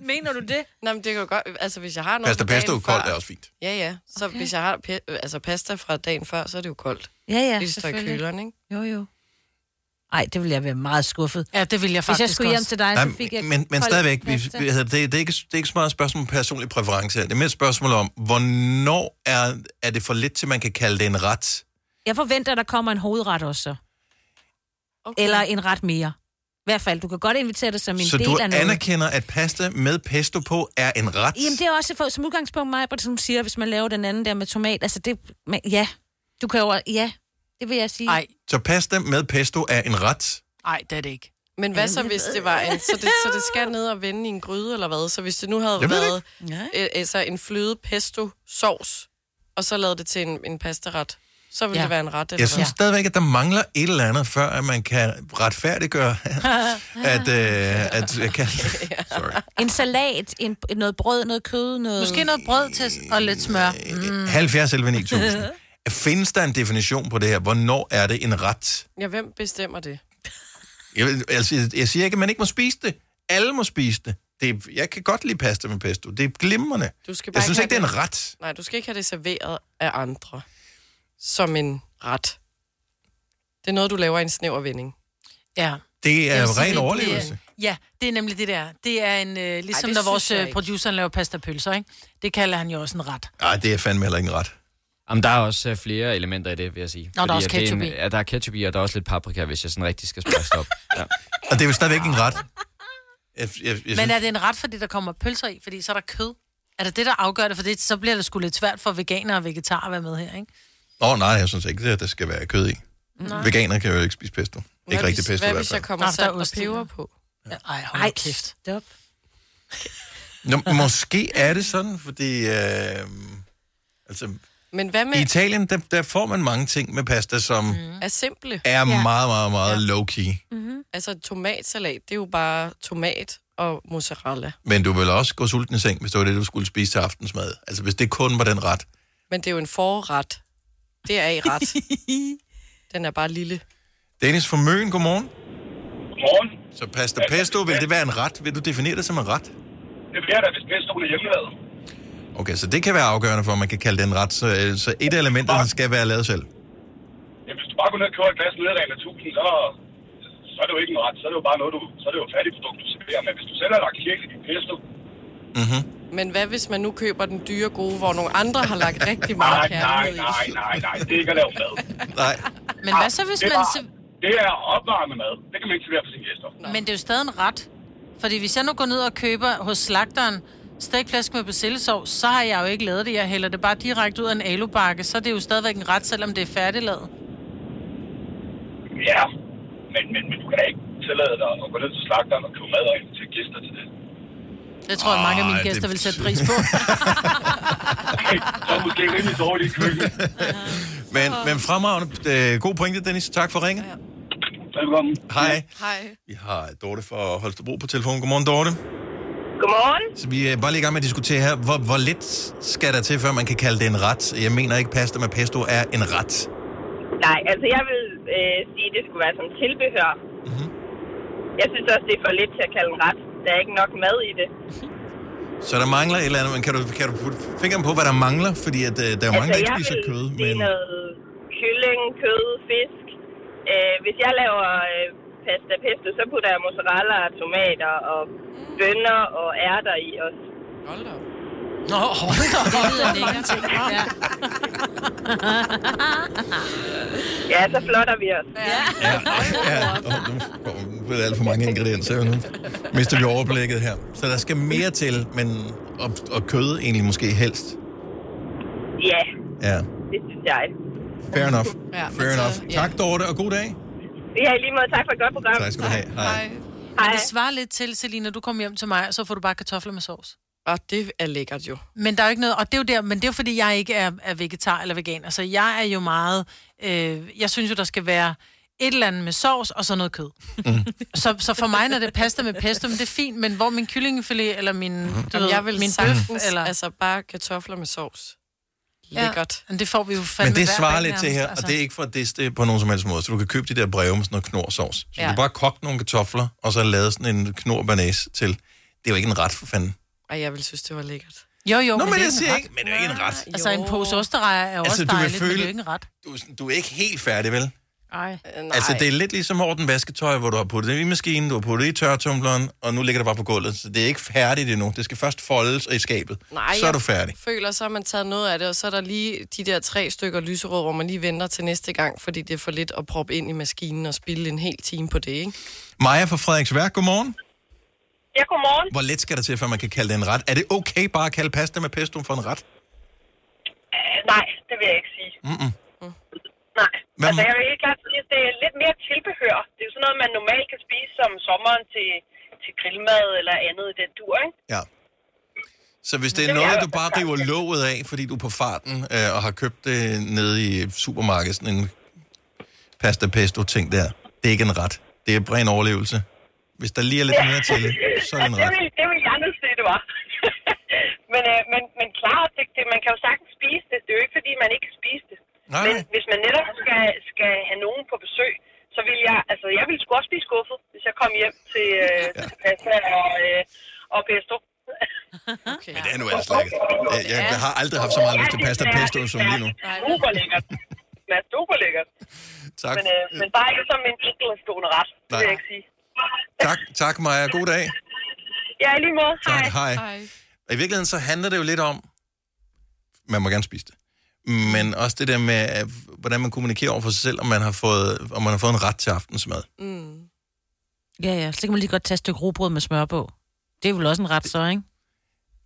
Mener du det? Nej, men det kan jo godt... Altså, hvis jeg har noget
Pasta
fra dagen før-
pesto koldt altså. er også fint.
Ja, ja. Så okay. hvis jeg har pe- øh, altså, pasta fra dagen før, så er det jo koldt.
Ja, ja,
Det står i
selvfølgelig.
køleren, ikke?
Jo, jo. Ej, det ville jeg være meget skuffet.
Ja, det ville jeg
Hvis jeg
faktisk
skulle hjem
også.
til dig,
Nej,
så fik jeg...
men, men
kold
stadigvæk, vi,
pasta.
vi, altså, det, det, er ikke, det er ikke så meget et spørgsmål om personlig præference. her. Det er mere et spørgsmål om, hvornår er, er det for lidt til, man kan kalde det en ret?
Jeg forventer, at der kommer en hovedret også. så. Eller en ret mere. I hvert fald, du kan godt invitere det som en
Så
del
du
af noget.
anerkender, at pasta med pesto på er en ret?
Jamen, det er også for, som udgangspunkt mig, som du siger, hvis man laver den anden der med tomat. Altså, det... Men, ja, du kan jo... Ja, det vil jeg sige. Nej,
Så pasta med pesto er en ret?
Nej, det er det ikke.
Men hvad
Jamen,
så,
jeg
hvis
ved
det var en...
ikke.
Så det, så det skal ned og vende i en gryde, eller hvad? Så hvis det nu havde
Jeg ved
været øh, altså en fløde pesto sovs, og så lavede det til en, en pastaret, så ville
Ja.
det være en ret, eller
Jeg synes stadigvæk, at der mangler et eller andet, før at man kan retfærdiggøre, at... Øh, at jeg kan...
En salat, en, noget brød, noget kød, noget...
Måske noget brød til og lidt
Øh,
smør. Mm.
70 11 9000. Findes der en definition på det her? Hvornår er det en ret?
hvad? Ja, hvem bestemmer det?
Jeg, vil- altså, jeg- jeg siger ikke, at man ikke må spise det. Alle må spise det. det er- jeg kan godt lide pasta med pesto. Det er glimrende.
Du skal bare
Jeg synes ikke, det er en
have
ret.
Nej, du skal ikke have det serveret af andre som en ret. Det er noget, du laver i en snæver vending.
Ja.
Det
Jeg vil
er
sige,
ren
det-
overlevelse.
det- Ja, det er nemlig det der. Det er en, øh, ligesom
Ej,
Ej,
det
når
synes
vores
jeg
øh,
ikke.
producer laver pastapølser, ikke? Det kalder han jo også en ret.
Nej, det er fandme heller ikke en ret.
Jamen, der er også øh, flere elementer i det, vil jeg sige.
der er også
at det
ketchup
en,
i.
Ja, der er ketchup i, og der er også lidt paprika, hvis jeg sådan rigtig skal spørge stop. Ja.
Og det er jo stadigvæk en ret. Jeg, jeg, jeg synes,
Men er det en ret, fordi der kommer pølser i? Fordi så er der kød. Er det det, der afgør det? For det, så bliver det sgu lidt svært for veganere og vegetarer at være med her, ikke?
Åh oh, nej, jeg synes ikke, at der skal være kød i.
Nej.
Veganer kan jo ikke spise pesto. Ikke rigtig
hvis,
pesto i
Hvad
hvert
hvis jeg
fald.
Nå,
kommer
der
salt
er
og
ost i,
peber
ja.
på?
Ja. Ej, hold Ej. kæft.
Stop.
Nå, måske er det sådan, fordi... Øh, altså,
Men hvad
I
med
Italien, der, der får man mange ting med pasta, som mm.
er simple?
er meget, meget, meget ja. low-key.
Mm-hmm. Altså tomatsalat, det er jo bare tomat og mozzarella.
Men du vil også gå sulten i seng, hvis det var det, du skulle spise til aftensmad. Altså, hvis det kun var den ret.
Men det er jo en forret. Det er i ret. Den er bare lille.
Dennis fra Møn, godmorgen.
Morgen.
Så pasta pesto, vil det være en ret? Vil du definere det som en ret?
Det bliver da, hvis pestoen er hjemmelavet.
Okay, så det kan være afgørende for, at man kan kalde det en ret. Så, øh, så et af elementerne skal være lavet selv.
Ja, hvis du bare går ned og køber et glas nedregnet af 1000, så, så er det jo ikke en ret. Så er det jo bare noget, du, så er det jo et færdigprodukt, du serverer. Men hvis du selv har lagt kirke i din pesto,
Men hvad hvis man nu køber den dyre gode, hvor nogle andre har lagt rigtig
nej,
meget
nej,
kærlighed i?
nej, nej, nej, det er ikke at lave mad.
Nej.
Men hvad så, hvis
det
man...
Er,
så-
bare- det er opvarmet mad. Det kan man ikke servere for sine gæster.
Men det er jo stadig en ret. Fordi hvis jeg nu går ned og køber hos slagteren stegflæsk med persillesov, så har jeg jo ikke lavet det. Jeg hælder det bare direkte ud af en alubakke, så er det jo stadigvæk en ret, selvom det er færdiglavet.
Ja, men, men, men du kan da ikke tillade dig at gå ned til slagteren og købe mad og invitere gæster til det.
Det tror jeg, mange af mine
Ej,
Ah,
det-
gæster vil sætte pris på.
Så er det måske rimelig dårligt i køkkenet.
Men, men fremragende. Øh, god pointe, Dennis. Tak for ringen.
Velkommen.
Hej.
Hej.
Vi har Dorte fra Holstebro på telefonen. Godmorgen, Dorte.
Godmorgen.
Så vi er bare lige i gang med at diskutere her, hvor, hvor lidt skal der til, før man kan kalde det en ret? Jeg mener ikke, pasta med pesto er en ret.
Nej, altså jeg vil øh, sige, at det skulle være som tilbehør. Mm-hmm. Jeg synes også, det er for lidt til at kalde en ret. Der er ikke nok mad i det.
Så der mangler et eller andet, men kan du, kan du putte fingeren på, hvad der mangler? Fordi at, øh, der er jo mange, der ikke
Altså, jeg
spiser
vil
kød,
sige
men...
noget kylling, kød, fisk. Øh, hvis jeg laver øh, pasta pesto, så putter jeg mozzarella, tomater og bønner og ærter i også.
Hold da
Nå, hold da
Det lyder
Ja.
ja, så flotter vi os. Ja.
Ja, og nu får vi alt for mange ingredienser, jo nu mister vi overblikket her. Så der skal mere til, men og, og kød egentlig måske helst.
ja,
Ja,
det synes jeg.
fair enough.
Ja,
Fair enough. Tak, Dorte, og god dag.
Ja, i lige måde. Tak for et godt program.
Tak skal du have. Hej.
Men det svarer lidt til, Selina, du kom hjem til mig, og så får du bare kartofler med sovs.
Og det er lækkert jo.
Men der er jo ikke noget, og det er jo der, men det er jo fordi, jeg ikke er, er vegetar eller veganer, så jeg er jo meget, øh, jeg synes jo, der skal være et eller andet med sovs, og så noget kød.
Mm.
Så, så for mig, når det pasta med pesto, men det er fint, men hvor min kyllingefilet, eller min,
Mm-hmm.
du
Jamen,
ved,
jeg vil
min
sagtens,
bøf, eller...
altså bare kartofler med sovs. Lækkert.
Ja, men det får vi jo fandme
Men det
hver
svarer
dag
lidt til
nærmest,
her, og
altså.
det er ikke for at diste på nogen som helst måde. Så du kan købe de der breve med sådan noget knorsovs. Så
Ja.
du kan bare kogt nogle kartofler, og så lave sådan en knor banæs til. Det er jo ikke en ret, for fanden.
Ej, jeg vil synes, det var lækkert.
Jo, jo,
Nå, men
det er
jeg
en
siger
ret.
ikke, men det er jo ikke en ret.
Altså, en pose osterejer er jo
Altså,
altså, også
du vil
dejligt, føle... men det er jo ikke en
føle-
ret.
Du, du er ikke helt færdig, vel?
Ej.
Nej. Altså, det er lidt ligesom over den vasketøj, hvor du har puttet det i maskinen, du har puttet det i tørretumbleren, og nu ligger det bare på gulvet. Så det er ikke færdigt endnu. Det skal først foldes i skabet.
Nej,
så er
jeg
du færdig.
føler, så har man taget noget af det, og så er der lige de der tre stykker lyserød, hvor man lige venter til næste gang, fordi det er for lidt at proppe ind i maskinen og spille en hel time på det, ikke?
Maja fra Frederiksværk, godmorgen.
Ja, godmorgen.
Hvor let skal der til, før man kan kalde det en ret? Er det okay bare at kalde pasta med pesto for en ret?
Øh, nej, det vil jeg ikke sige.
Mm-mm.
Nej.
Hvad
altså,
må-
jeg vil helt klart sige, at det er lidt mere tilbehør. Det er jo sådan noget, man normalt kan spise som sommeren til, til grillmad eller andet i den tur, ikke?
Ja. Så hvis det
Det
er
vil jeg
noget,
i
du
hvert fald
bare river låget af, fordi du er på farten øh, og har købt det nede i supermarkedet, sådan en pasta pesto ting der, det er ikke en ret. Det er bare en overlevelse. Hvis der lige er lidt mere til, så er det en
det,
ret.
vil, det vil jeg nu sige, det var. men, øh, men, men klart, det, det, man kan jo sagtens spise det. Det er jo ikke, fordi man ikke kan spise det.
Nej,
Men
nej.
hvis man netop skal, skal have nogen på besøg, så vil jeg, altså jeg ville sgu også blive skuffet, hvis jeg kom hjem til, øh, ja. til pasta og, øh, og pesto.
okay.
Men det er nu altså lækkert. Øh, Jeg, jeg har aldrig haft så meget lyst til pasta pesto som lige nu.
Super lækkert. Det er super lækkert.
Tak.
Men, øh, men bare ikke som en enkeltstående ret, det vil
Nej.
jeg ikke sige.
Tak, tak Maja. God dag.
Ja, i lige måde. Hej.
Tak, hej. Og i virkeligheden så handler det jo lidt om, man må gerne spise det, men også det der med, øh, hvordan man kommunikerer over for sig selv, om man har fået, om man har fået en ret til aftensmad.
Mm. Ja, ja. Så kan man lige godt tage et stykke rugbrød med smør på. Det er vel også en ret så, ikke?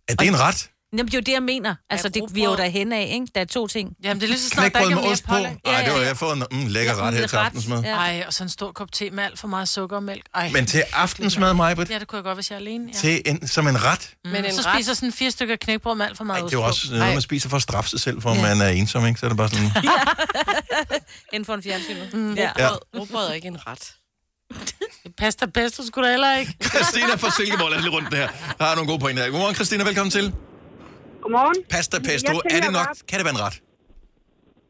Er det en ret?
Jamen, det er jo det, jeg mener. Altså, det, vi er jo derhen af, ikke? Der er to ting.
Jamen, det er lige så snart, der
Knækbrød
ikke er
med
mere
ost på?
pålæg.
Nej, det var jeg får en mm, lækker ret her til aftensmad.
Ja. Ej, og så en stor kop te med alt for meget sukker og mælk. Ej.
Men til aftensmad, Majbrit?
Ja, det kunne jeg godt, hvis jeg er alene. Ja.
Til en, som en ret?
Mm. Men
en
så
ret-
spiser sådan fire stykker knækbrød med alt for meget
Det er jo
ost på.
også noget, man spiser for at straffe sig selv, for ja. man er ensom, ikke? Så er det bare sådan...
Inden for en fjernsyn.
Mm.
Ja. Ja.
Rugbrød er ikke en ret.
det pasta pesto skulle da heller ikke.
Christina fra Silkeborg, lad os lige rundt det her. Der er nogle gode pointer. her. Godmorgen, Christina. Velkommen til.
Godmorgen.
Pasta
Jeg
pesto.
tænker
Er det nok...
bare-
Kan det være en ret?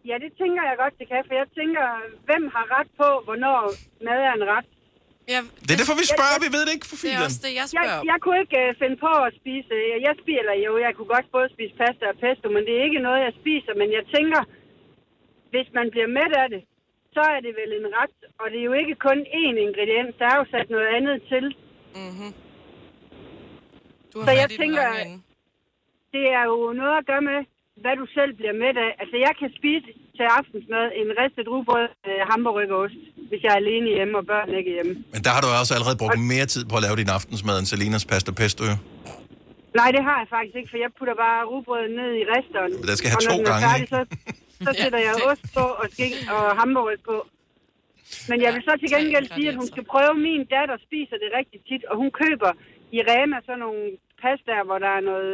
Ja, det tænker jeg godt, det kan, for jeg tænker, hvem har ret på, hvornår mad er en ret?
Ja,
Det er derfor, vi spørger. Vi ved det ikke for
Det er
filen.
også det, jeg spørger
jeg,
om.
jeg kunne ikke øh, finde på at spise... øh, Jeg spiller jo, jeg kunne godt både spise pasta og pesto, men det er ikke noget, jeg spiser. Men jeg tænker, hvis man bliver mæt af det, så er det vel en ret. Og det er jo ikke kun én ingrediens, der er jo sat noget andet til.
Mm-hmm.
Så jeg tænker, det er jo noget at gøre med, hvad du selv bliver mæt af. Altså, jeg kan spise til aftensmad en ristet rugbrød, øh, hamburger og ost, hvis jeg er alene hjemme, og børn ikke er hjemme.
Men der har du også allerede brugt mere tid på at lave din aftensmad end Selinas pasta pesto. jo.
Nej, det har jeg faktisk ikke, for jeg putter bare rugbrøden ned i risteren.
Men den skal have
og når
to
den er
gange,
færdig, så, så
Ja,
sætter jeg
det-
ost på og, skik og hamburger på. Men jeg vil så til gengæld sige, at hun skal prøve. Min datter spiser det rigtig tit, og hun køber i Rema sådan nogle pastaer, hvor der er noget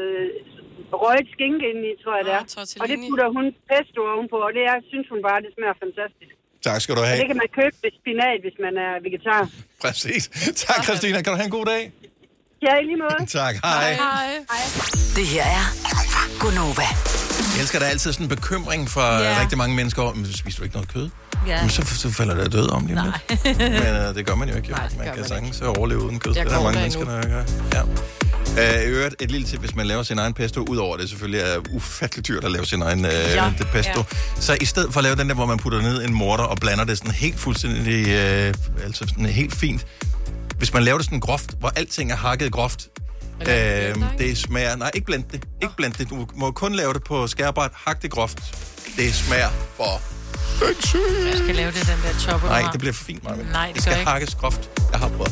røget skinke inde i, tror jeg det er. Og det putter hun pesto ovenpå, og det er, synes hun bare, det smager fantastisk.
Tak skal du
Og
have.
det kan man købe med spinat, hvis man er vegetar.
Præcis. Tak, Christina. Kan du have en god dag?
Ja, i lige måde.
Tak. Hej.
Det her er Gunova.
Jeg elsker, der er altid sådan en bekymring fra
Ja.
yeah. rigtig mange mennesker over, men spiser du ikke noget kød?
Ja.
Men så, så falder der død om lige om lidt. Men øh, det gør man jo ikke. Jo.
Nej, det
man
gør
kan
man
sagtens overleve uden kød.
Jeg
der er
går
mange
der
mennesker, der gør. Ja. Øh, I øvrigt, et lille tip, hvis man laver sin egen pesto, udover at det selvfølgelig er ufatteligt dyrt at lave sin egen øh,
Ja.
ja. pesto.
Ja.
Ja. Så i stedet for at lave den der, hvor man putter ned en morter og blander det sådan helt fuldstændig, øh, altså sådan helt fint. Hvis man laver det sådan groft, hvor alting er hakket groft, øh, det smager... Nej, ikke blend det. Ikke blend det. Du må kun lave det på skærbræt. Hak det groft. Det smager for
Jeg skal lave det, den der chopper.
Nej, det bliver for fint, Marvind.
Nej, det
det
gør
skal
jeg ikke.
hakkes groft. Jeg har prøvet.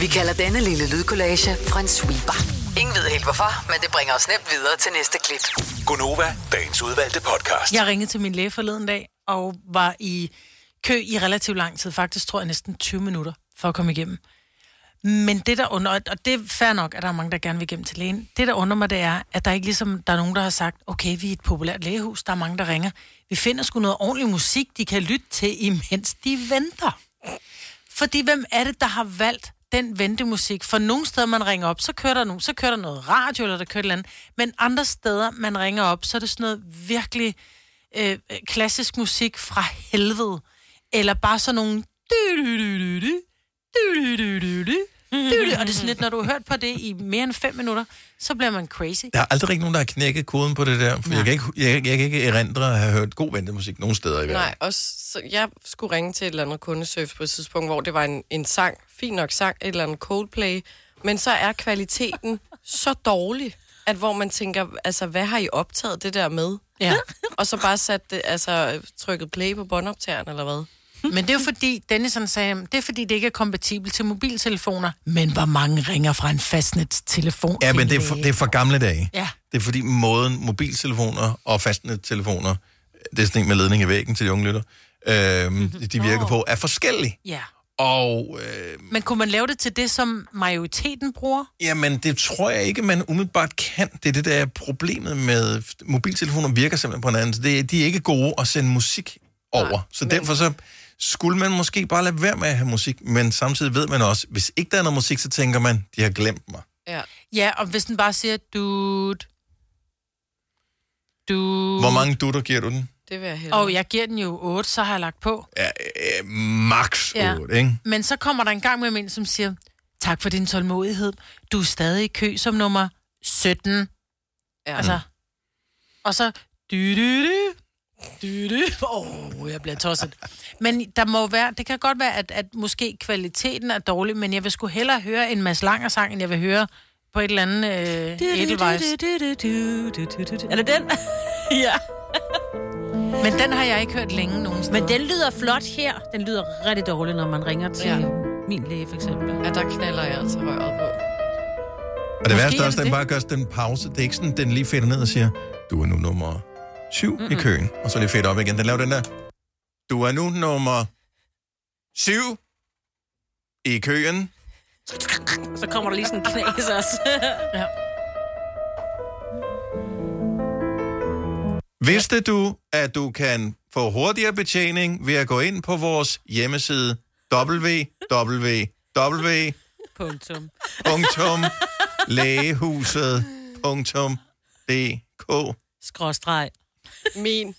Vi kalder denne lille lydkollage en sweeper. Ingen ved helt hvorfor, men det bringer os nemt videre til næste klip.
Gunova, dagens udvalgte podcast.
Jeg ringede til min læge forleden dag, og var i kø i relativt lang tid, faktisk tror jeg næsten 20 minutter, for at komme igennem. Men det, der under, og det er fair nok, at der er mange, der gerne vil igennem til lægen. Det, der under mig, det er, at der ikke ligesom, der er nogen, der har sagt, okay, vi er et populært lægehus, der er mange, der ringer. Vi finder sgu noget ordentlig musik, de kan lytte til, imens de venter. Fordi hvem er det, der har valgt den ventemusik? For nogle steder, man ringer op, så kører der, nogen, så kører der noget radio, eller der kører et eller andet. Men andre steder, man ringer op, så er det sådan noget virkelig øh, klassisk musik fra helvede. Eller bare sådan nogle... dy-dy-dy-dy-dy, dy-dy-dy-dy-dy, dy-dy. Og det er sådan lidt, når du har hørt på det i mere end fem minutter, så bliver man crazy.
Der er aldrig rigtig nogen, der har knækket koden på det der. For jeg kan, ikke, jeg, jeg kan ikke erindre at have hørt god ventemusik nogen steder i verden.
Nej, og så, jeg skulle ringe til et eller andet kundeservice på et tidspunkt, hvor det var en, en sang, fin nok sang, et eller andet Coldplay, men så er kvaliteten så dårlig, at hvor man tænker, altså, hvad har I optaget det der med?
Ja.
og så bare sat det, altså, trykket play på båndoptageren, eller hvad?
Men det er jo fordi, Dennis han sagde, det er fordi, det ikke er kompatibelt til mobiltelefoner. Men hvor mange ringer fra en fastnetstelefon?
Ja,
til
men
en
det er, for,
læge?
det er for gamle dage.
Ja.
Det er fordi måden mobiltelefoner og fastnettelefoner, det er sådan en med ledning i væggen til de unge lytter, øh, de virker på, er forskellige.
Ja.
Og øh,
Men kunne man lave det til det, som majoriteten bruger?
jamen, det tror jeg ikke, man umiddelbart kan. Det er det, der er problemet med mobiltelefoner, virker simpelthen på hinanden. Så det, de er ikke gode at sende musik over. Nej, så derfor så skulle man måske bare lade være med at have musik, men samtidig ved man også, hvis ikke der er noget musik, så tænker man, de har glemt mig.
Ja.
Ja, og hvis den bare siger, dude, dude.
Hvor mange dutter giver du den?
Det vil jeg hellere.
Og jeg giver den jo 8, så har jeg lagt på.
Ja, øh, max 8, ikke?
Men så kommer der en gang med en, som siger, tak for din tålmodighed. Du er stadig i kø som nummer 17.
Ja.
Altså, og så... Du, du, du, du, du. Oh, jeg bliver tosset. Men der må være, det kan godt være, at, at måske kvaliteten er dårlig, men jeg vil sgu hellere høre en Mads Langer sang, end jeg vil høre på et eller andet øh, Edelweiss.
Er det den? ja.
Men den har jeg ikke hørt længe nogen steder.
Men den lyder flot her. Den lyder rigtig dårlig, når man ringer til ja. min læge, for eksempel.
Ja, der knaller jeg altså røret på.
Og det
Måske
værste
er
er
det
også, at den
det.
bare gør sådan en pause. Det er ikke sådan, den lige fedter ned og siger, du er nu nummer syv mm-hmm. i køen. Og så lige fedt op igen. Den laver den der, du er nu nummer syv i køen.
Så kommer der lige sådan en knas også.
ja.
Vidste du, at du kan få hurtigere betjening ved at gå ind på vores hjemmeside www.
Punktum.
punktum lægehuset punktum dk.
Skråstreg.
Min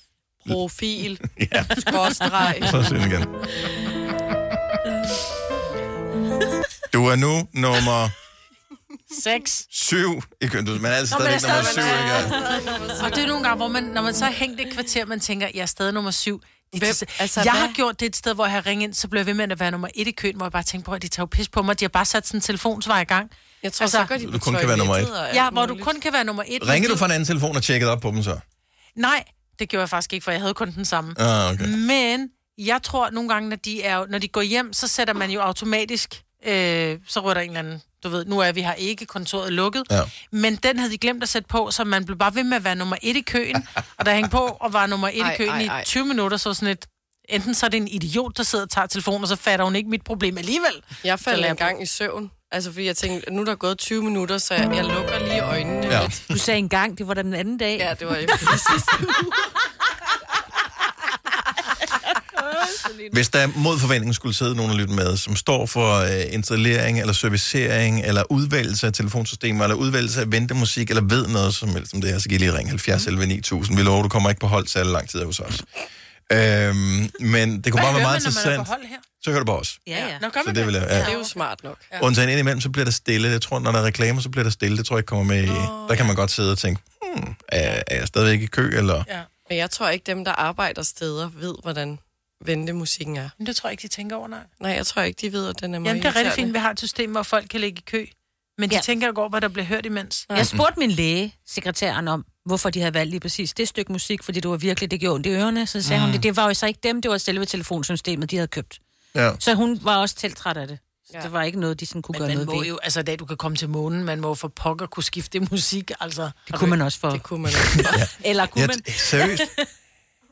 profil.
Ja.
Skråstreg.
Så siger den igen. Du er nu nummer
6.
syv i køn. Du- Man er altid
Nå, men jeg
stadigvæk
er
nummer syv,
stadig-
ikke?
Og det er nogle gange, hvor man, når man så har hængt et kvarter, man tænker, jeg er stadig nummer syv. De, Hvem? Altså,
Altså,
jeg
hvad?
har gjort det et sted, hvor jeg har ringet ind, så blev jeg ved med at være nummer et i køen, hvor jeg bare tænkte på, at de tager jo pis på mig. De har bare sat sådan en telefonsvar i gang.
Jeg tror,
Altså,
så går de
Du på kun kan være nummer et. toilettet
og alt
Ja, hvor du kun kan være nummer et. men
Ringer du fra en anden telefon og tjekkede op på dem så?
Nej, det gjorde jeg faktisk ikke, for jeg havde kun den samme.
Ah, okay.
Men jeg tror at nogle gange, når de, er, jo- når de går hjem, så sætter man jo automatisk, øh, så rører der en eller anden, du ved, nu er vi her ikke, kontoret lukket.
Ja.
Men den havde de glemt at sætte på, så man blev bare ved med at være nummer et i køen. og der hængte på og var nummer et i
Ej,
køen
ej,
i
ej.
20 minutter, så var sådan et, enten så er det en idiot, der sidder og tager telefonen, og så fatter hun ikke mit problem alligevel.
Jeg
Så
faldt
lader
en gang i søvn. Altså, fordi jeg tænkte, nu er der gået 20 minutter, så jeg, jeg lukker lige øjnene.
Ja.
Du sagde engang, det var da den anden dag.
Ja, det var ikke præcis.
Hvis der mod forventning skulle sidde nogen og lytte med, som står for øh, installering, eller servicering, eller udvælgelse af telefonsystemer, eller udvælgelse af ventemusik, eller ved noget som helst om det her, så kan I lige ringe 70 11 9000. Vi lover, du kommer ikke på hold særlig lang tid hos os. Øhm, men det kunne bare være meget interessant. Så hører du på os.
Ja, ja.
Nå,
gør Så man det vil det? jeg- ja.
ja. Det er jo smart nok. Ja.
Undtagen indimellem, så bliver der stille. Jeg tror, når der er reklamer, så bliver der stille. Det tror jeg ikke kommer med. i- Der kan man godt sidde og tænke, hmm, er, er jeg stadigvæk i kø, eller...
Ja.
Men jeg tror ikke, dem, der arbejder steder, ved, hvordan ventemusikken er.
Men det tror jeg ikke, de tænker over, nej.
Nej, jeg tror ikke, de ved, at den er meget
Jamen, det er rigtig
irriterende.
fint, vi har et system, hvor folk kan ligge i kø. Men de ja. tænker ikke over, hvad der bliver hørt imens.
Jeg spurgte min læge, sekretæren, om, hvorfor de havde valgt lige præcis det stykke musik, fordi det var virkelig, det gjorde ondt i ørerne. Så sagde mm. hun,
Mm.
det, det var jo så ikke dem, det var selve telefonsystemet, de havde købt.
Ja.
Så hun var også tiltræt af det. Så ja. det var ikke noget, de sådan kunne
Men
gøre
man
noget
må
ved.
jo, altså da du kan komme til månen, man må jo for pokker kunne skifte musik, altså.
Det kunne man også for. Det
kunne man også
for. Eller kunne
Jeg,
man?
seriøst,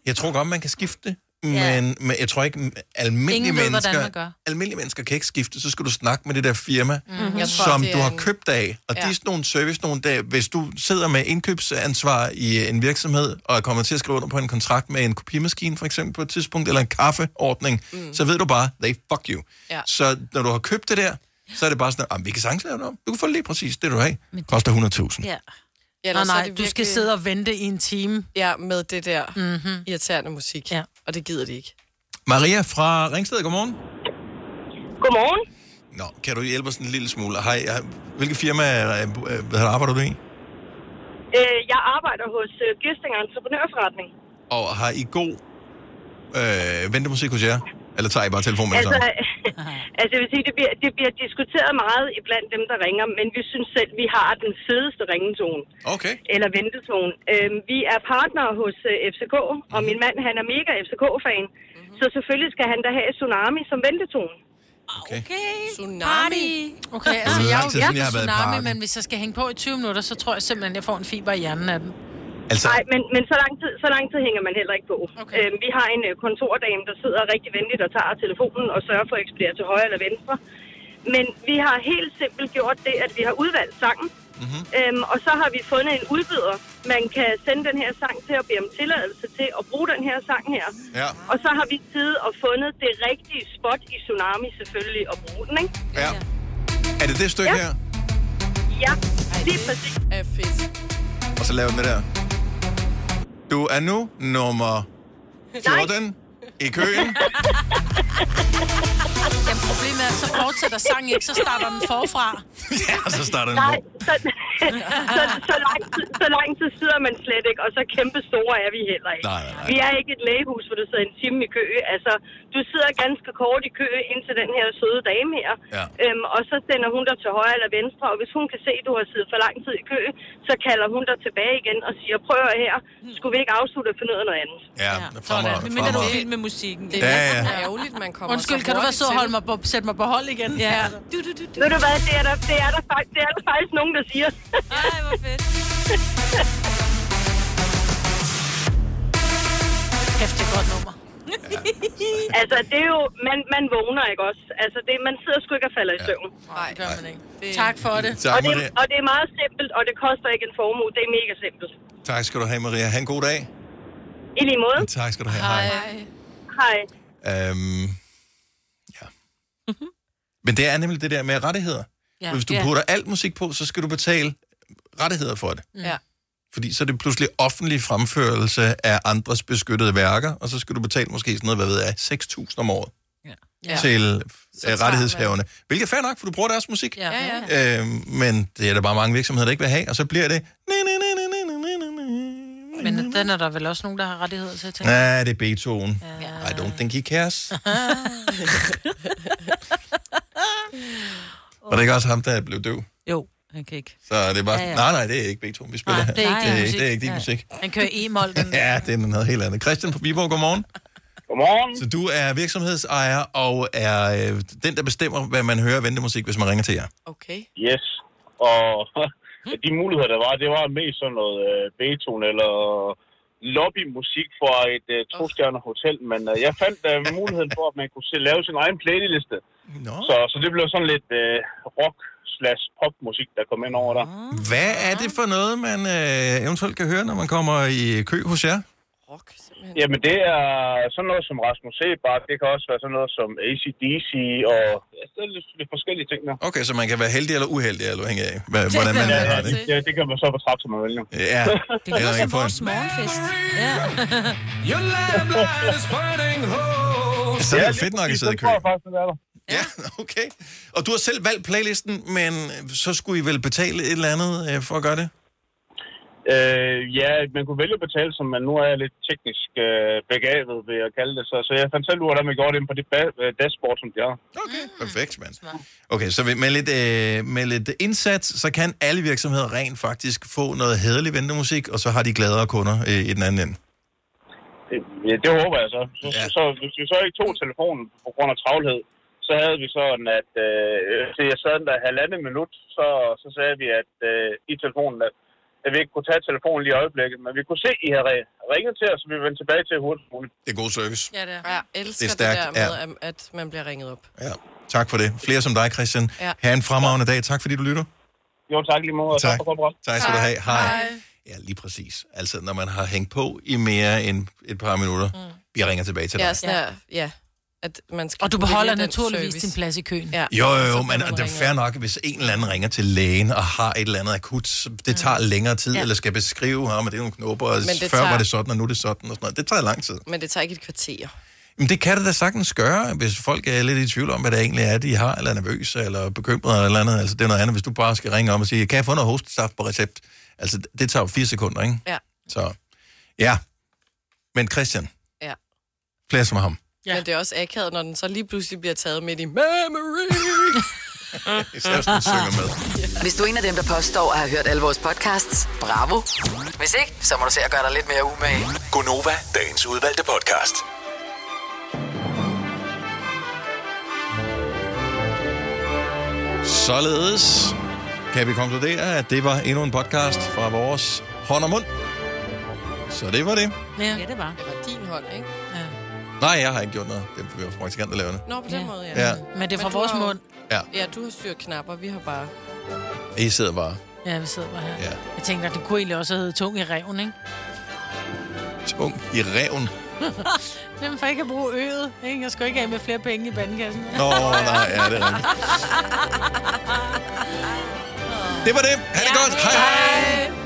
jeg tror godt, man kan skifte Men, men jeg tror ikke, almindelige
Ingen ved, hvordan
mennesker,
man gør.
almindelige mennesker kan ikke skifte, så skal du snakke med det der firma,
Mhm.
mm-hmm.
Jeg tror,
som
det er
du har
en-
købt af. Og ja.
Ja.
det er sådan nogle service nogle dage. Hvis du sidder med indkøbsansvar i øh, en virksomhed, og er kommet til at skrive under på en kontrakt med en kopimaskine for eksempel på et tidspunkt, eller en kaffeordning, mm. så ved du bare, they fuck you.
Ja.
Så når du har købt det der, så er det bare sådan, at vi kan sagtens lave det om. Du kan få lige præcis det, du har. Koster 100.000.
Ja.
Ja,
nej, nej, du skal sidde og Mhm. vente i en time.
Ja, med det der mm-hmm. irriterende musik. Ja. Og det gider de ikke.
Maria fra Ringsted, godmorgen.
Godmorgen.
Nå, kan du hjælpe os en lille smule? Hej, jeg- hvilke firma øh, øh, hvad arbejder du i?
Øh, jeg arbejder hos øh, Gøstinger Entreprenørforretning.
Og har I god øh, ventemusik hos jer? Eller tager I bare telefonen med det
Altså,
samme?
altså, jeg vil sige, det bliver, det bliver diskuteret meget blandt dem, der ringer, men vi synes selv, vi har den fedeste ringetone.
Okay.
Eller ventetone. Øhm, vi er partnere hos øh, FCK, og min mand, han er mega FCK-fan, så selvfølgelig skal han da have Tsunami som ventetone.
Okay. Tsunami.
Okay,
Det er
altså,
lang
jeg,
tid
jeg,
siden,
jeg
jeg
er
har været i
tsunami,
parken.
men hvis jeg skal hænge på i 20 minutter, så tror jeg simpelthen, jeg får en fiber i hjernen af den.
Altså...
Nej, men, men så, lang tid, så lang tid hænger man heller ikke på. Okay. Øhm, vi har en øh, kontordame, der sidder rigtig venligt og tager telefonen og sørger for at ekspedere til højre eller venstre. Men vi har helt simpelt gjort det, at vi har udvalgt sangen, mm-hmm. øhm, og så har vi fundet en udbyder, man kan sende den her sang til og bede om tilladelse til at bruge den her sang her.
Ja.
Og så har vi siddet og fundet det rigtige spot i Tsunami selvfølgelig og bruge den, ikke?
Ja. Er det det stykke ja. her?
Ja, det er præcis.
Er fedt.
Og så laver den det der. Du er nu nummer 14 Nej. i køen.
Jamen, problemet er, så fortsætter sangen ikke, så starter den forfra.
ja, og så starter den
Nej,
på.
så, så, så, lang tid, så lang tid sidder man slet ikke, og så kæmpe store er vi heller ikke.
Nej, nej, nej.
Vi er ikke et lægehus, hvor du sidder en time i kø. Altså, du sidder ganske kort i kø indtil den her søde dame her,
Ja.
øhm, og så sender hun dig til højre eller venstre, og hvis hun kan se, at du har siddet for lang tid i kø, så kalder hun dig tilbage igen og siger, prøv at høre her, skulle vi ikke afslutte og finde ud af noget andet?
Ja, fremragende.
Men mindre du er
fremragende.
vild med musikken.
Det er Ja, næsten ja.
ærgerligt, man
kommer
Undskyld,
så
kan du være
hurtigt
så
til.
holde mig på, sætte mig på hold igen?
Ja.
Du, du, du, du.
Ved du hvad, det er der, det er der, fakt, det er der faktisk nogen, der siger.
Ej, hvor fedt.
Kæft, det er et godt nummer.
altså, det er jo, man, man vågner ikke også. Altså, det, man sidder sgu ikke og falder i søvn.
Nej, det gør man ikke. Det... Tak for det.
Tak,
og, det
Maria.
og det er meget simpelt, og det koster ikke en formue. Det er mega simpelt.
Tak skal du have, Maria. Ha' en god dag.
I lige måde.
Tak skal du have.
Mm. Hej.
Øhm, ja. Men det er nemlig det der med rettigheder.
Ja.
Ja. Hvis du
Ja.
putter alt musik på, så skal du betale rettigheder for det.
Ja.
Fordi så er det pludselig offentlig fremførelse af andres beskyttede værker, og så skal du betale måske sådan noget, hvad ved jeg, 6.000 om året ja. til
Så
øh,
tager
rettighedshaverne. Hvilket er fair nok, for du bruger deres musik.
Ja, ja.
Øh, men det er der bare mange virksomheder, der ikke vil have, og så bliver det,
Men den er der vel også nogen, der har rettighed til at tænke.
nej, det er Beethoven. Ja. I don't think he cares. Var det ikke også ham, der blev døv?
Jo, han kan ikke.
Så det er bare,
Ja, ja.
nej, nej, det er ikke Beethoven, vi spiller
Nej,
her.
det er ikke din
det,
musik.
det er ikke din
Ja.
musik.
Han kører e-mål.
Ja, det er noget helt andet. Christian fra Viborg, godmorgen.
Godmorgen.
Så du er virksomhedsejer og er øh, den, der bestemmer, hvad man hører af ventemusik, hvis man ringer til jer.
Okay.
Yes. Og de muligheder, der var, det var mest sådan noget øh, Beethoven eller lobbymusik fra et øh, to-stjerner hotel. Men øh, jeg fandt øh, muligheden for, at man kunne se, lave sin egen playliste.
Nå.
Så, så det blev sådan lidt øh, rock slash popmusik, der kom ind over der.
Ah.
Hvad er det for noget, man øh, eventuelt kan høre, når man kommer i kø hos jer?
Jamen det er sådan noget som Rasmus Sebak, det kan også være sådan noget som ACDC og ja, så er det lidt, lidt forskellige ting der.
Okay, så man kan være heldig eller uheldig, eller afhængig af, hvad- hvordan man
ja,
har
det.
det.
Ja, det kan man så betragte som man vælger.
Ja, det er der ikke for en.
morgenfest. Ja.
Your lamp light is burning home.
Så er det jo fedt nok at sidde i kø.
Ja,
okay. Og du har selv valgt playlisten, men så skulle I vel betale et eller andet øh, for at gøre det?
Øh, ja, man kunne vælge at betale, som man nu er jeg lidt teknisk øh, begavet, vil jeg kalde det. Så, så jeg fandt selv ud af, hvordan man gjorde det inde på det ba- øh, dashboard, som de har.
Okay. Perfekt, mand. Okay, så med lidt, øh, med lidt indsats, så kan alle virksomheder rent faktisk få noget hæderlig ventemusik, og så har de gladere kunder øh, i den anden ende.
Det, ja, det håber jeg så. Så, ja. så. Hvis vi så ikke tog telefonen på grund af travlhed, så havde vi sådan, at øh, til jeg sad den der halvandet minut, så, så sagde vi at øh, i øh, telefonen, at at vi ikke kunne tage telefonen lige i øjeblikket, men vi kunne se, at I havde re- ringet til os, så vi vendte tilbage til jer hurtigst muligt.
Det er god service.
Ja, det er. Jeg elsker
Det
det,
er stærkt,
det der med, ja. at man bliver ringet op.
Ja. Tak for det. Flere som dig, Christian.
Ja.
Ha' en fremragende dag. Tak fordi du lytter.
Jo, tak lige måde. og
Tak.
Tak, for godt
Tak skal du have. Hej. Ja, lige præcis. Altså, når man har hængt på i mere end et par minutter, mm. vi ringer tilbage til dig.
Ja, sådan ja. ja. At man skal
Og du
kunne
beholder
vælge den
naturligvis
service.
din plads i køen.
Ja.
Jo, jo, jo, men det er fair nok, hvis en eller anden ringer til lægen og har et eller andet akut, så det tager længere tid,
Mm. Ja.
ja. eller skal beskrive ham, at det er nogle knopper, og
Men det
før
tager-
var det sådan, og nu er det sådan, og sådan noget. Det tager lang tid.
Men det tager ikke et kvarter.
Men det kan det da sagtens gøre, hvis folk er lidt i tvivl om, hvad det egentlig er, de har, eller er nervøse, eller bekymrede, eller et eller andet. Altså, det er noget andet, hvis du bare skal ringe om og sige, kan jeg få noget hovedstaff på recept? Altså, det tager jo fire sekunder, ikke?
Ja.
Så, ja. Men Christian,
Ja.
flere som ham.
ja. Men det er også akavet, når den så lige pludselig bliver taget midt i memory.
Især hvis den synger med.
Hvis du er en af dem, der påstår at have hørt alle vores podcasts, bravo. Hvis ikke, så må du se at gøre dig lidt mere umage.
Gonova, dagens udvalgte podcast.
Således kan vi konkludere, at det var endnu en podcast fra vores hånd og mund. Så det var det.
Ja. ja, det var.
Det var din hånd, ikke?
Ja.
Nej, jeg har ikke gjort noget. Det var praktikant, der laver det.
Nå, på den måde, ja.
Ja.
Men det er fra
Men du
vores
har jo-
mund.
Ja.
Ja, du har styrt knapper, vi har bare...
I sidder bare
Ja, vi sidder bare her.
Ja.
Jeg tænkte, at det kunne egentlig også hedde tung i reven, ikke?
tung i reven.
Hvem for ikke at bruge øget, ikke? Jeg skal ikke af med flere penge i bandkassen.
Nå, nej, ja, det er rigtigt. Det var det. Ha' det godt. Hej.
Hej.